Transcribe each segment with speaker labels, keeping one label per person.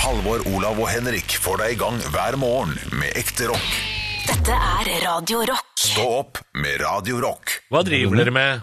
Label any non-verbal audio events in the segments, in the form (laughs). Speaker 1: Halvor, Olav og Henrik får deg i gang hver morgen med ekte rock.
Speaker 2: Dette er Radio Rock.
Speaker 1: Stå opp med Radio Rock.
Speaker 3: Hva driver dere med?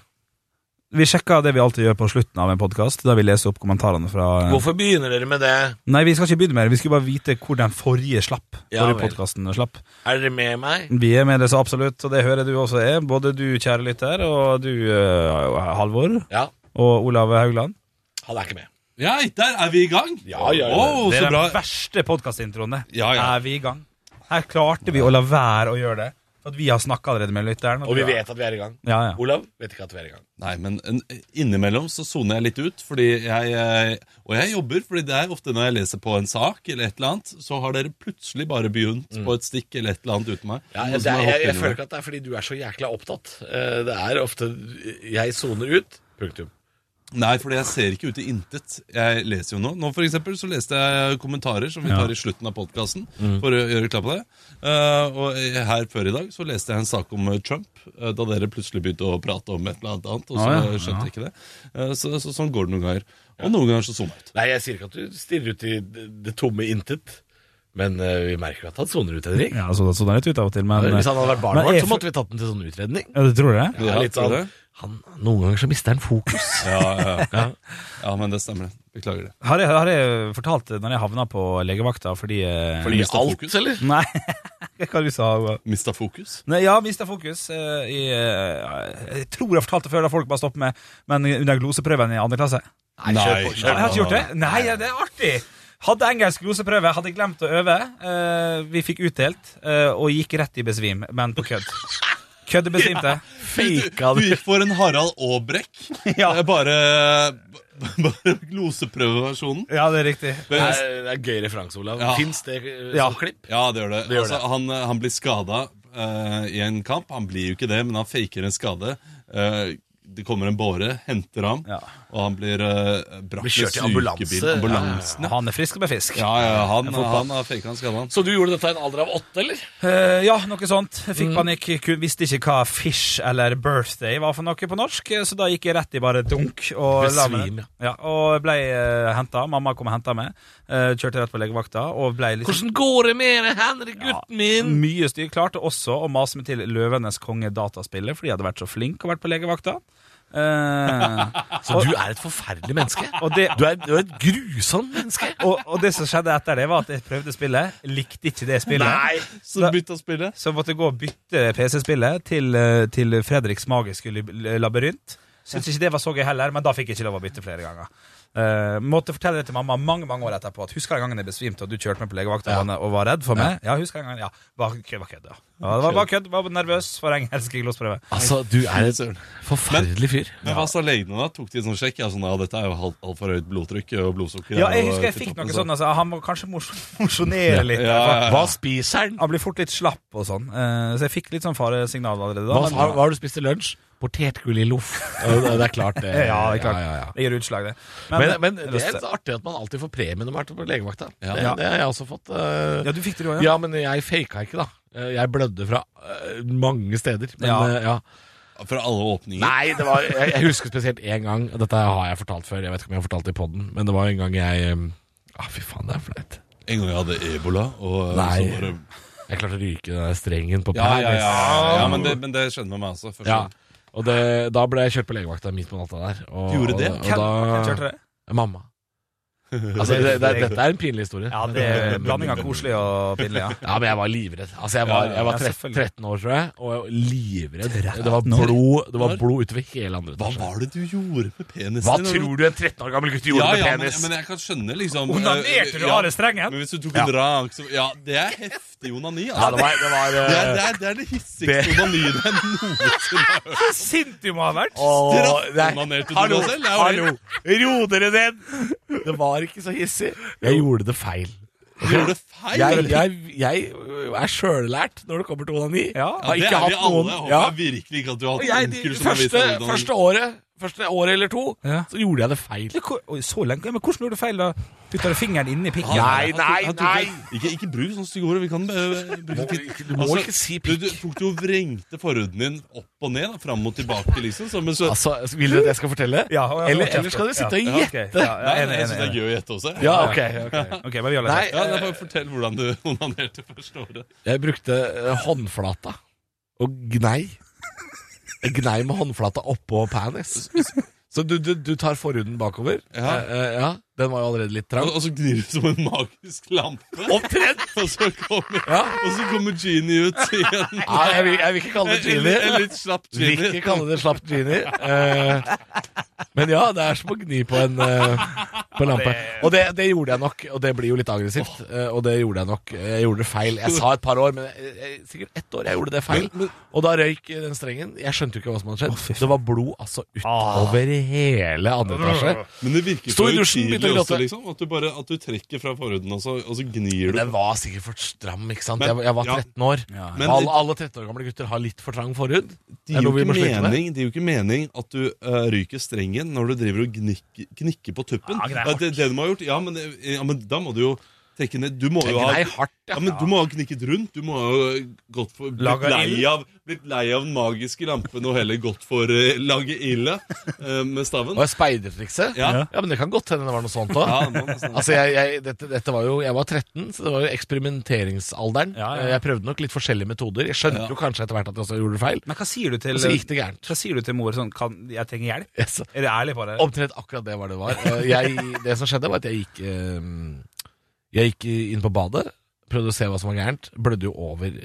Speaker 4: Vi sjekka det vi alltid gjør på slutten av en podkast, da vi leser opp kommentarene fra
Speaker 3: Hvorfor begynner dere med det?
Speaker 4: Nei, vi skal ikke begynne mer. Vi skulle bare vite hvor den forrige slapp.
Speaker 3: Ja
Speaker 4: forrige
Speaker 3: vel.
Speaker 4: podcasten slapp.
Speaker 3: Er dere med meg?
Speaker 4: Vi er med det så absolutt, og det hører du også er. Både du, kjære lytter, og du, eh, Halvor,
Speaker 3: Ja.
Speaker 4: og Olav Haugland.
Speaker 3: Han er ikke med.
Speaker 5: Ja, der er vi i gang.
Speaker 3: Ja, ja, ja.
Speaker 5: Å,
Speaker 4: Det
Speaker 5: så
Speaker 4: er
Speaker 5: bra.
Speaker 4: den verste podkastintroen, det.
Speaker 5: Ja, ja.
Speaker 4: Er vi i gang? Her klarte vi å la være å gjøre det. For at vi har snakka allerede med lytteren.
Speaker 3: Og vi vet at vi er i gang.
Speaker 4: Ja, ja.
Speaker 3: Olav vet ikke at vi er i gang.
Speaker 5: Nei, men en- innimellom så soner jeg litt ut, fordi jeg, eh, og jeg jobber, fordi det er ofte når jeg leser på en sak eller et eller annet, så har dere plutselig bare begynt på et stikk eller et eller annet uten meg.
Speaker 3: Mm. Ja, altså,
Speaker 5: Noe
Speaker 3: jeg,
Speaker 5: som har
Speaker 3: jeg, jeg,
Speaker 5: hoppet
Speaker 3: jeg
Speaker 5: innover.
Speaker 3: føler ikke at det er fordi du er så jækla opptatt. Eh, Det er ofte jeg soner ut. Punktum.
Speaker 5: Nei, fordi jeg ser ikke ut i intet. Jeg leser jo nå. Nå for eksempel så leste jeg kommentarer som vi tar i slutten av podkasten, for å gjøre klar på det. Eh, og her før i dag så leste jeg en sak om eh, Trump, eh, da dere plutselig begynte å prate om et eller annet, og så
Speaker 4: Ah, ja,
Speaker 5: skjønte jeg ikke det. Eh, så, så sånn går det noen ganger. Og noen ganger så zoomer jeg ut.
Speaker 3: Nei, jeg sier ikke at du stirrer ut i det det tomme intet, men eh, vi merker jo at han soner ut, Henrik.
Speaker 4: Ja, så, sånn er det ut av og til, men
Speaker 3: Hvis han hadde vært barnet
Speaker 4: Men
Speaker 3: vårt,
Speaker 4: jeg-
Speaker 3: så måtte vi tatt den til sånn utredning.
Speaker 4: Ja, du tror det?
Speaker 3: Ja,
Speaker 5: Ja,
Speaker 3: litt sånn,
Speaker 5: tror du det?
Speaker 3: han, noen ganger så mister han fokus.
Speaker 5: Ja, ja, ja. ja, men det stemmer. det. Beklager det.
Speaker 4: Har jeg, har jeg fortalt det når jeg havna på legevakta fordi, eh,
Speaker 3: Fordi
Speaker 5: mister
Speaker 3: alt,
Speaker 5: fokus,
Speaker 3: eller?
Speaker 4: (laughs) Nei, hva du sa du?
Speaker 5: Mista fokus?
Speaker 4: Nei, ja, mista fokus. eh, i, eh, jeg tror jeg fortalte det før, da folk bare stopper med Men under gloseprøven i andre klasse.
Speaker 5: Nei,
Speaker 4: Jeg har ikke gjort det. Nei, ja, det er artig! Hadde engelsk gloseprøve, hadde glemt å øve. eh, vi fikk utdelt, eh, og gikk rett i besvim, men på kødd. Køddebesvimte.
Speaker 3: Fika
Speaker 5: Du
Speaker 3: du.
Speaker 5: gikk for en Harald Aabrekk.
Speaker 4: Ja.
Speaker 5: Det er Bare, (laughs) bare gloseprøveversjonen.
Speaker 4: Ja, det er riktig.
Speaker 3: Det
Speaker 5: Men-
Speaker 3: er, det er gøy referanse, Olav.
Speaker 5: Ja.
Speaker 3: Fins det eh,
Speaker 4: Ja.
Speaker 3: som klipp?
Speaker 5: Ja, det gjør det.
Speaker 3: Det gjør
Speaker 5: altså,
Speaker 3: det.
Speaker 5: Han, han blir skada i en kamp. Han blir jo ikke det, men han faker en skade. Eh, det kommer en båre, henter ham,
Speaker 4: Ja.
Speaker 5: og han blir uh, brakt
Speaker 3: Blir kjørt i
Speaker 5: med
Speaker 3: ambulanse.
Speaker 5: sykebil. Ambulansen, ja.
Speaker 4: Han er frisk og med fisk.
Speaker 5: Ja, ja, han, han har faka en skade, han.
Speaker 3: Så du gjorde dette i en alder av åtte, eller?
Speaker 4: Eh, ja, noe sånt. Jeg
Speaker 3: Mm.
Speaker 4: Fikk panikk. ku- Visste ikke hva fish eller birthday var for noe på norsk, eh, så da gikk jeg rett i bare dunk. Og la meg-
Speaker 3: Besvim, ja.
Speaker 4: ja. Og ble uh, henta. Mamma kom og henta meg. Eh, kjørte rett på legevakta og ble
Speaker 3: Hvordan
Speaker 4: liksom
Speaker 3: går det med deg, Henrik, gutten min?
Speaker 4: mye styr. Klarte også å mase meg til Løvenes konge dataspillet, fordi jeg hadde vært så flink og vært på legevakta. Eh,
Speaker 3: (laughs) Så du er et forferdelig menneske.
Speaker 4: (laughs) og, det,
Speaker 3: Du er, du er et grusomt menneske.
Speaker 4: og, og det som skjedde etter det, var at jeg prøvde spillet, likte ikke det spillet.
Speaker 5: Så du begynte å spille?
Speaker 4: Så måtte jeg gå og bytte PC-spillet til, eh, til Fredriks magiske lib- labyrint. Syns ikke det var så gøy heller, men da fikk jeg ikke lov å bytte flere ganger. Eh, måtte fortelle det til mamma mange mange år etterpå. At Husker den gangen jeg besvimte og du kjørte meg på legevakta og var- og var redd for meg? Ja, husker den gangen, ja. Var kødd, var kødd. Ja. Ja, det var, var kødd. Var nervøs for engelsk glosprøve.
Speaker 3: Altså, du er et
Speaker 5: Søren.
Speaker 3: forferdelig fyr.
Speaker 5: Men hva sa legene da? Tok de en sånn sjekk? Ja, sånn, ja, dette er jo alt- altfor høyt blodtrykk og blodsukker.
Speaker 4: Ja,
Speaker 5: er
Speaker 4: jeg
Speaker 5: jo
Speaker 4: husker jeg
Speaker 5: til
Speaker 4: fikk noe
Speaker 5: toppen,
Speaker 4: sånn altså, Han må kanskje mos- mosjonere litt.
Speaker 5: Ja, ja, ja.
Speaker 3: Hva spiser han?
Speaker 4: Han blir fort litt slapp og sånn. Eh, så jeg fikk litt sånn faresignal allerede da.
Speaker 3: Hva,
Speaker 4: men-
Speaker 3: hva har du spist til lunsj? Potetgull i loff. Ja, Det det er klart, det.
Speaker 4: Ja, det er
Speaker 3: (laughs)
Speaker 4: klart.
Speaker 3: Ja, ja, ja.
Speaker 4: Det gir utslag, det.
Speaker 3: Men, men det er sånn litt artig at man alltid får premie når man er på legevakta.
Speaker 5: Ja.
Speaker 3: Det, det har jeg også fått. eh,
Speaker 4: Ja, du fikk det du òg,
Speaker 3: Ja, men jeg faka ikke, da. Eh, Jeg blødde fra eh, mange steder. Men,
Speaker 4: Ja.
Speaker 3: eh, ja.
Speaker 5: altså. Fra alle åpninger?
Speaker 3: Nei, det var, jeg, jeg husker spesielt én gang. og Dette har jeg fortalt før. Jeg vet ikke om jeg har fortalt det i poden, men det var en gang jeg eh, ah, Fy faen, det er flaut.
Speaker 5: En gang jeg hadde ebola, og eh,
Speaker 3: Nei.
Speaker 5: så bare
Speaker 3: Jeg klarte å ryke den der strengen på
Speaker 5: Ja,
Speaker 3: Paris.
Speaker 5: ja, ja. ja. ja men, det, men det skjønner man meg også. Første
Speaker 3: Ja.
Speaker 5: gang.
Speaker 3: Og det, da ble jeg kjørt på legevakta midt på natta der. Og,
Speaker 5: Gjorde det?
Speaker 3: Og,
Speaker 4: Hvem hvem
Speaker 3: og
Speaker 4: kjørte
Speaker 3: da,
Speaker 4: det?
Speaker 3: mamma. Altså, det, det, dette er en pinlig historie.
Speaker 4: Ja,
Speaker 3: (laughs)
Speaker 4: det er blanding av koselig og pinlig, ja.
Speaker 3: Ja, men jeg var livredd. Altså, jeg var,
Speaker 4: Ja, ja,
Speaker 3: jeg var
Speaker 4: ja,
Speaker 3: 13,
Speaker 4: selvfølgelig.
Speaker 3: 13 år, tror jeg, og jeg var livredd. Det var
Speaker 4: 13 år?
Speaker 3: blod, det var
Speaker 5: Når?
Speaker 3: blod utover hele andre
Speaker 5: Hva
Speaker 3: etasje.
Speaker 5: var det du gjorde med penisen?
Speaker 3: Hva tror du en 13 år gammel gutt gjorde
Speaker 5: ja, ja,
Speaker 3: med
Speaker 5: men,
Speaker 3: penis?
Speaker 5: men jeg kan skjønne, liksom eh,
Speaker 4: Onanerte du
Speaker 5: ja,
Speaker 4: av det strengen?
Speaker 5: Men hvis du tok en rank, så Ja, det er heftig onani,
Speaker 3: ja,
Speaker 5: altså.
Speaker 3: det var, det var
Speaker 5: det,
Speaker 3: eh,
Speaker 5: er, det, er, det er det hissigste onaniet jeg noensinne har hørt.
Speaker 4: Så sint du må ha vært!
Speaker 3: åh,
Speaker 5: Straff-
Speaker 3: nei.
Speaker 5: onanerte du
Speaker 3: Hallo,
Speaker 5: da selv? Ja, vel.
Speaker 3: hallo! Ro dere ned! Det var ikke så hissig. Jeg gjorde det feil.
Speaker 5: Du gjorde feil!
Speaker 3: Jeg, jeg, jeg er sjøllært når det kommer til onani.
Speaker 4: Ja.
Speaker 5: ja,
Speaker 3: Har
Speaker 5: det
Speaker 3: ikke
Speaker 5: er vi
Speaker 3: hatt noen.
Speaker 5: alle. Jeg håper
Speaker 3: Ja.
Speaker 5: virkelig ikke at du har
Speaker 3: Og
Speaker 5: hatt
Speaker 3: jeg,
Speaker 5: onkel
Speaker 3: de,
Speaker 5: som har vist
Speaker 3: første,
Speaker 5: deg onani.
Speaker 3: første året Første året eller to,
Speaker 4: Ja.
Speaker 3: så gjorde jeg det feil.
Speaker 4: Men hvor- oi, Så lenge? Men hvordan gjorde du feil, da? Putter du fingeren inni pikken?
Speaker 5: Han-
Speaker 6: Nei, nei,
Speaker 5: han tok-
Speaker 6: nei.
Speaker 5: Ikke, ikke bruk sånne stygge ord. Vi kan eh, bruke pikk.
Speaker 3: du må ikke si pikk.
Speaker 5: Du, du tok jo og vrengte forhuden din opp og ned, da, fram og tilbake, liksom. Som en så,
Speaker 3: Altså, Vil du at jeg skal fortelle?
Speaker 4: Ja, og jeg-
Speaker 3: eller,
Speaker 4: og jeg-
Speaker 3: eller skal dere sitte og
Speaker 4: Ja, ja,
Speaker 3: gjette?
Speaker 4: ok. Ja, ja,
Speaker 5: nei,
Speaker 4: enig,
Speaker 5: jeg syns
Speaker 4: enig,
Speaker 5: det er
Speaker 4: enig.
Speaker 5: gøy å gjette også.
Speaker 3: Ja, ok. ok.
Speaker 4: Ok, men vi gjør det.
Speaker 3: Nei,
Speaker 5: Ja, nei, bare fortell hvordan du onanerte første året.
Speaker 3: jeg brukte eh, håndflata og gnei. Jeg gnei med håndflata oppå penis. Så du, du, du tar forhuden bakover.
Speaker 5: Ja.
Speaker 3: Eh, eh, ja. Den var jo allerede litt trang.
Speaker 5: Og, og så gnir du som en magisk lampe.
Speaker 3: Omtrent!
Speaker 5: (laughs) Og så kommer,
Speaker 3: Ja.
Speaker 5: og så kommer Genie ut igjen.
Speaker 3: Nei, jeg, vil, jeg vil ikke kalle det
Speaker 5: En,
Speaker 3: genie.
Speaker 5: en litt slapp
Speaker 3: Vil
Speaker 5: Genie.
Speaker 3: ikke kalle det slapp genie. Eh, men ja, det er som å gni på en eh, på en lampe. Og det, det gjorde jeg nok, og det blir jo litt aggressivt. eh, og det gjorde jeg nok. Jeg gjorde det feil. Jeg sa et par år, men jeg, jeg, sikkert ett år jeg gjorde det feil. og da røyk den strengen. Jeg skjønte jo ikke hva som hadde skjedd. det var blod altså utover
Speaker 5: Ah.
Speaker 3: hele andre etasje.
Speaker 5: Men det virker
Speaker 3: Stå
Speaker 5: så
Speaker 3: i dusjen, begynte å
Speaker 5: utidig
Speaker 3: gråte.
Speaker 5: også, liksom. At du, bare, at du trekker fra forhuden, og så, og så gnir du.
Speaker 3: Den var sikkert for stram, ikke sant.
Speaker 5: Men-
Speaker 3: jeg, jeg var
Speaker 5: ja.
Speaker 3: 13 år.
Speaker 5: Men-
Speaker 3: alle, alle 13 år gamle gutter har litt for trang forhud.
Speaker 5: Det
Speaker 3: er
Speaker 5: gir,
Speaker 3: noe vi
Speaker 5: jo
Speaker 3: må
Speaker 5: ikke
Speaker 3: slutte med.
Speaker 5: mening, det gir jo ikke mening at du eh, ryker strengen når du driver og gnikker, knikker på tuppen.
Speaker 4: Ah, grei,
Speaker 5: Ja, det, det du må ha gjort, ja, men, det- ja, men da må du jo trekke ned Du må jo ha
Speaker 3: Gnei hardt, ja.
Speaker 5: ja, men du må ha knikket rundt. Du må ha gått for, blitt,
Speaker 4: Laga
Speaker 5: lei
Speaker 4: ild.
Speaker 5: av, blitt lei av den magiske lampen og heller gått for uh, lage ilde eh, med staven.
Speaker 3: Og speidertrikset?
Speaker 5: Ja.
Speaker 3: ja, men det kan godt hende det var noe sånt òg.
Speaker 5: Ja, det må man snakke om.
Speaker 3: Altså, jeg, jeg, dette, dette var jo, jeg var 13, så det var jo eksperimenteringsalderen.
Speaker 4: Ja, ja, ja.
Speaker 3: Jeg prøvde nok litt forskjellige metoder. Jeg skjønte jo kanskje etter hvert at jeg også gjorde feil.
Speaker 4: Men hva sier du til
Speaker 3: Og så gikk det gærent. (laughs)
Speaker 4: Hva sier du til mor sånn kan, 'Jeg trenger hjelp'?
Speaker 3: Yes.
Speaker 4: Er du ærlig på det?
Speaker 3: Omtrent akkurat det var det var. Eh, Jeg, det som skjedde, var at jeg gikk eh, Jeg gikk inn på badet. Prøvde å se hva som var gærent. Blødde jo over Det,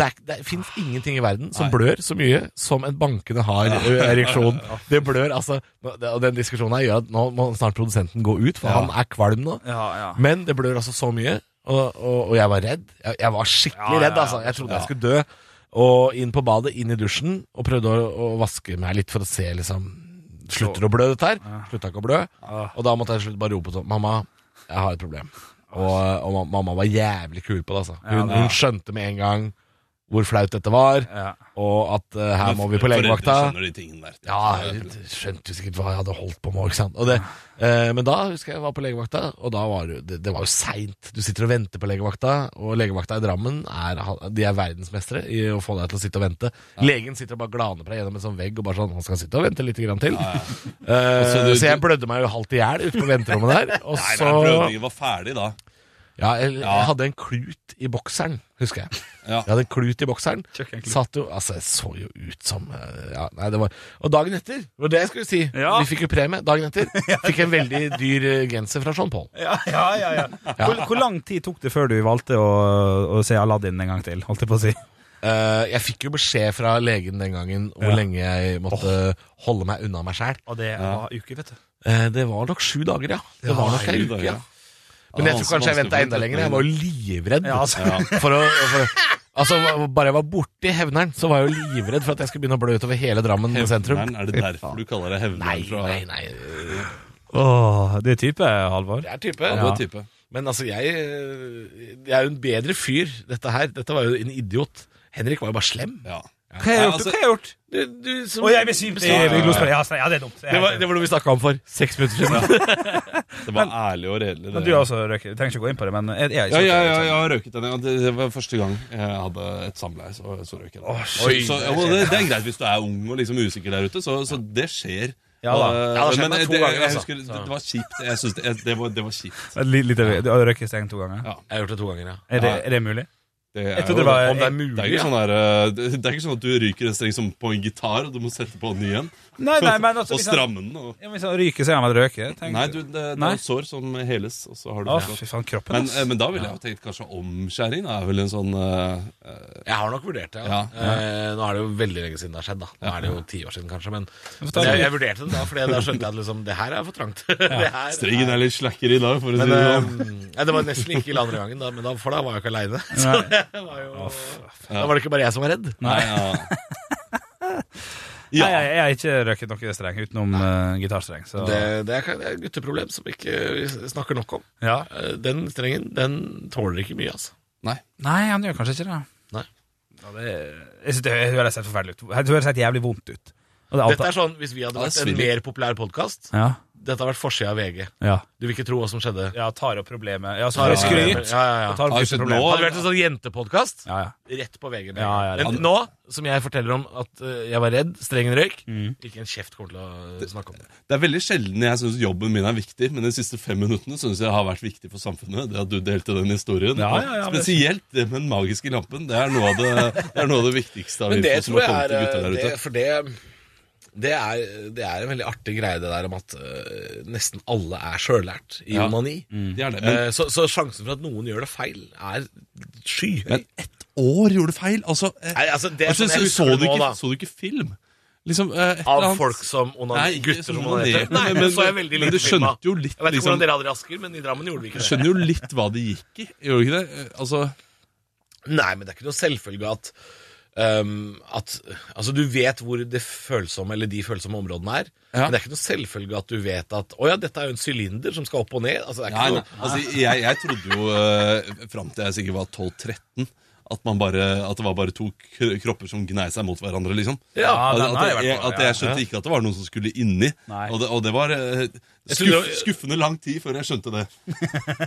Speaker 3: er ikke- det fins ingenting i verden som blør så mye som en bankende
Speaker 5: (laughs)
Speaker 3: hard ø, ereksjon. Det blør, altså. nå- det- Og den diskusjonen her gjør at nå må snart produsenten gå ut, for han er kvalm nå.
Speaker 4: Ja, ja.
Speaker 3: Men det blør altså så mye, og, og, og jeg var redd. Jeg, jeg var skikkelig
Speaker 4: Ja, ja, ja.
Speaker 3: redd, altså. Jeg trodde jeg skulle dø. Og inn på badet, inn i dusjen, og prøvde å, å vaske meg litt for å se, liksom Slutter det å blø, dette her? Slutta ikke å blø. Og da måtte jeg slutt bare rope sånn Mamma, jeg har et problem. Og, og ma- mamma var jævlig kul på det, altså. Hun, hun skjønte med en gang hvor flaut dette var,
Speaker 4: Ja.
Speaker 3: og at eh, her må vi på
Speaker 5: Foreldre
Speaker 3: legevakta.
Speaker 5: skjønner de tingene der.
Speaker 3: Ja, jeg skjønte jo sikkert hva jeg hadde holdt på med. Ikke sant? Og det, eh, men da husker jeg jeg var på legevakta, og da var det, det- det var jo seint. Du sitter og venter på legevakta, og legevakta i Drammen er, de er verdensmestere i å få deg til å sitte og vente. Legen sitter og bare glaner på deg gjennom en sånn vegg og bare sånn Han skal sitte og vente litt grann til. Eh,
Speaker 5: Og så du-
Speaker 3: så jeg blødde meg jo halvt i hjel ute på venterommet der. Og
Speaker 5: Nei, nei,
Speaker 3: så
Speaker 5: blødningen var ferdig da.
Speaker 3: ja, jeg,
Speaker 5: Ja.
Speaker 3: jeg hadde en klut i bokseren, husker jeg.
Speaker 5: Ja.
Speaker 3: Jeg hadde en klut i bokseren.
Speaker 4: Kjøkkenklut.
Speaker 3: Satt jo, altså, jeg så jo ut som eh, ja, nei, det var, Og dagen etter, det var det jeg skulle si.
Speaker 4: Ja.
Speaker 3: Vi fikk jo premie dagen etter. Fikk en veldig dyr eh, genser fra Jean Paul.
Speaker 4: Ja, ja, ja, ja. (laughs) Hvor, hvor lang tid tok det før du valgte å, å se Aladdin en gang til? Holdt jeg på å si.
Speaker 3: Eh, jeg fikk jo beskjed fra legen den gangen hvor
Speaker 4: Ja.
Speaker 3: lenge jeg måtte holde meg unna meg sjæl.
Speaker 4: Og det var uke, vet du.
Speaker 3: det var nok sju dager, ja. Det var nok ei
Speaker 5: sju
Speaker 3: uke,
Speaker 5: dager,
Speaker 3: ja.
Speaker 5: ja.
Speaker 3: Men jeg
Speaker 5: Ja,
Speaker 3: tror kanskje jeg
Speaker 5: vanskelig
Speaker 3: venta
Speaker 5: for-
Speaker 3: enda lenger. Jeg var jo livredd.
Speaker 4: Ja, altså.
Speaker 3: for å, for å, altså, bare jeg var borti hevneren, så var jeg jo livredd for at jeg skulle begynne å blø utover hele Drammen sentrum.
Speaker 5: Hevneren, er det derfor du kaller deg
Speaker 3: Nei,
Speaker 5: hevneren fra
Speaker 3: nei, nei.
Speaker 4: Åh, du er type, Halvor.
Speaker 3: Det er type.
Speaker 5: Ja, du er type.
Speaker 3: Men altså, jeg, eh, jeg er jo en bedre fyr, dette her. Dette var jo en idiot. Henrik var jo bare slem.
Speaker 5: Ja.
Speaker 4: Hva har jeg gjort?
Speaker 5: altså-
Speaker 4: Hva har jeg gjort?
Speaker 3: Du, du, som-
Speaker 4: Å, jeg besvimte i glosperre. Ja, ja, det er dumt.
Speaker 3: det, var, det var noe vi snakka om for seks minutter siden.
Speaker 5: Det var ærlig og redelig.
Speaker 4: men
Speaker 5: det.
Speaker 4: du har også røyker. Du trenger ikke gå inn på det, men jeg, jeg,
Speaker 5: Ja, ja, ja, jeg har røyket den. ja. Det, det var første gang jeg hadde et samleie, så, så røyk jeg den. så,
Speaker 3: shit.
Speaker 5: så, ja, men det, det er greit hvis du er ung og liksom usikker der ute, så, så det skjer.
Speaker 4: Ja da.
Speaker 5: Eh,
Speaker 3: Ja, det skjer meg
Speaker 5: men
Speaker 3: to
Speaker 5: det,
Speaker 3: ganger,
Speaker 5: jeg
Speaker 3: altså.
Speaker 5: husker, det, det var kjipt. Jeg synes det, det, var, det var kjipt.
Speaker 4: Et li- lite, du har røyket steng to ganger.
Speaker 5: Ja.
Speaker 3: Jeg har gjort det to ganger, ja.
Speaker 4: Er det, er det mulig?
Speaker 5: Det
Speaker 4: Jeg
Speaker 5: er,
Speaker 4: trodde
Speaker 5: jo-
Speaker 4: det var
Speaker 3: Om det er
Speaker 5: det er
Speaker 3: mulig,
Speaker 5: ikke
Speaker 3: ja.
Speaker 5: sånn der, eh, det, det er ikke sånn at du ryker en streng som på en gitar, og du må sette på en ny en.
Speaker 4: Nei, nei, men altså,
Speaker 5: og
Speaker 4: hvis han,
Speaker 5: stramme den. Og...
Speaker 4: ja, hvis han ryker, så er han vel røyker. tenker
Speaker 5: Nei, du, det, det
Speaker 4: Nei.
Speaker 5: er et sår som heles, og så har du
Speaker 4: Å,
Speaker 5: fortsatt.
Speaker 4: fy faen, kroppen,
Speaker 5: men,
Speaker 4: ass.
Speaker 5: eh, men da ville jeg jo tenkt kanskje omskjæring. Da er vel en sånn eh, eh,
Speaker 3: Jeg har nok vurdert det. Ja.
Speaker 5: Ja,
Speaker 3: Eh, nå er det jo veldig lenge siden det har skjedd. da Nå er det jo ti år siden, kanskje. Men
Speaker 4: ta
Speaker 3: men jeg, jeg vurderte det da, Fordi da skjønte jeg at liksom, det her er for trangt. (laughs) Det her
Speaker 5: Strengen er litt slakker i dag, for å si
Speaker 3: Men,
Speaker 5: det
Speaker 3: eh,
Speaker 5: sånn.
Speaker 3: ja, det var nesten like ille andre gangen, da, men da, for da var jeg ikke aleine.
Speaker 5: (laughs)
Speaker 3: Da var det ikke bare jeg som var redd.
Speaker 5: Nei, ja.
Speaker 4: (laughs) Nei, jeg, jeg har ikke røyket noe streng utenom eh, gitarstreng. Så.
Speaker 3: Det, det er et gutteproblem som ikke vi ikke snakker nok om.
Speaker 4: Ja.
Speaker 3: Eh, Den strengen den tåler ikke mye, altså.
Speaker 5: Nei.
Speaker 4: Nei, han gjør kanskje ikke det.
Speaker 3: Nei.
Speaker 4: Ja, det jeg synes det høres helt forferdelig ut. Det høres helt jævlig vondt ut. Og det er alt-
Speaker 3: Dette er sånn, Hvis vi hadde
Speaker 5: Ja,
Speaker 3: vært
Speaker 5: det
Speaker 3: en
Speaker 5: svinger.
Speaker 3: mer populær podkast,
Speaker 4: ja.
Speaker 3: Dette har vært forsida av VG.
Speaker 4: Ja.
Speaker 3: Du vil ikke tro hva som skjedde.
Speaker 4: ja, tar opp problemet. Ja, så har vi
Speaker 3: Ja, ja,
Speaker 4: skryt.
Speaker 3: ja, ja.
Speaker 4: Og tar
Speaker 5: Har
Speaker 4: opp
Speaker 5: vi sett
Speaker 4: problemet.
Speaker 5: Altså, nå?
Speaker 3: Hadde det vært en sånn jentepodkast,
Speaker 4: Ja, ja.
Speaker 3: rett på VG.
Speaker 4: Ja, ja, ja.
Speaker 3: Men nå, som jeg forteller om at eh, jeg var redd, strengen røyk,
Speaker 5: Mm.
Speaker 3: ikke en kjeft kommer til å eh, snakke om det.
Speaker 5: Det er veldig sjelden jeg syns jobben min er viktig, men de siste fem minuttene syns jeg har vært viktig for samfunnet. Det at du delte den historien.
Speaker 4: Ja, ja, ja,
Speaker 5: Og
Speaker 4: men-
Speaker 5: Spesielt det med den magiske lampen. Det er noe av det, det, er noe av det viktigste av
Speaker 3: Men det
Speaker 5: info som
Speaker 3: tror
Speaker 5: har
Speaker 3: jeg
Speaker 5: kommet til
Speaker 3: er
Speaker 5: gutta
Speaker 3: eh,
Speaker 5: der
Speaker 3: det,
Speaker 5: ute.
Speaker 3: For det, det, er, det er en veldig artig greie, det der om at eh, nesten alle er sjøllært i
Speaker 5: Ja. Mm.
Speaker 3: onani.
Speaker 5: Det er det. Men
Speaker 3: Eh, så, så sjansen for at noen gjør det feil, er skyhøy.
Speaker 5: Men ett år gjorde du feil! Altså, eh,
Speaker 3: Nei, altså, det er
Speaker 5: altså,
Speaker 3: sånn jeg
Speaker 5: så,
Speaker 3: husker det
Speaker 5: du
Speaker 3: nå,
Speaker 5: ikke,
Speaker 3: da.
Speaker 5: så du ikke film? Liksom, eh, et
Speaker 3: Av
Speaker 5: eller annet.
Speaker 3: folk som
Speaker 5: Nei,
Speaker 3: onanerte.
Speaker 5: ikke
Speaker 3: Gutter
Speaker 5: som
Speaker 3: som onanerte.
Speaker 5: onanerte,
Speaker 3: Nei,
Speaker 5: men-
Speaker 3: men så er jeg veldig
Speaker 5: men
Speaker 3: lite
Speaker 5: du skjønte
Speaker 3: filmet.
Speaker 5: jo litt,
Speaker 3: Jeg vet ikke
Speaker 5: liksom-
Speaker 3: hvordan dere hadde det i Asker, men i Drammen gjorde vi
Speaker 5: Du
Speaker 3: ikke det.
Speaker 5: skjønner jo litt hva det gikk i, gjør du ikke det? Eh, Altså,
Speaker 3: Nei, men det er ikke noe selvfølge at ehm, at, altså Du vet hvor det følsomme eller de følsomme områdene er,
Speaker 5: Ja.
Speaker 3: men det er ikke noe selvfølge at du vet at Å ja, dette er jo en sylinder som skal opp og ned. Altså, det er ikke
Speaker 5: nei, nei,
Speaker 3: noe,
Speaker 5: altså jeg, jeg trodde jo eh, fram til jeg sikkert var 12-13 at, man bare, at det var bare to kro- kropper som gnei seg mot hverandre, liksom.
Speaker 4: Ja,
Speaker 5: at,
Speaker 4: den har
Speaker 5: at,
Speaker 4: jeg vært
Speaker 5: jeg,
Speaker 4: på,
Speaker 5: at
Speaker 4: ja.
Speaker 5: jeg skjønte ikke at det var noen som skulle inni.
Speaker 4: Nei.
Speaker 5: Og det, og det var eh,
Speaker 3: trodde
Speaker 5: skuff,
Speaker 3: det-
Speaker 5: skuffende lang tid før jeg skjønte det.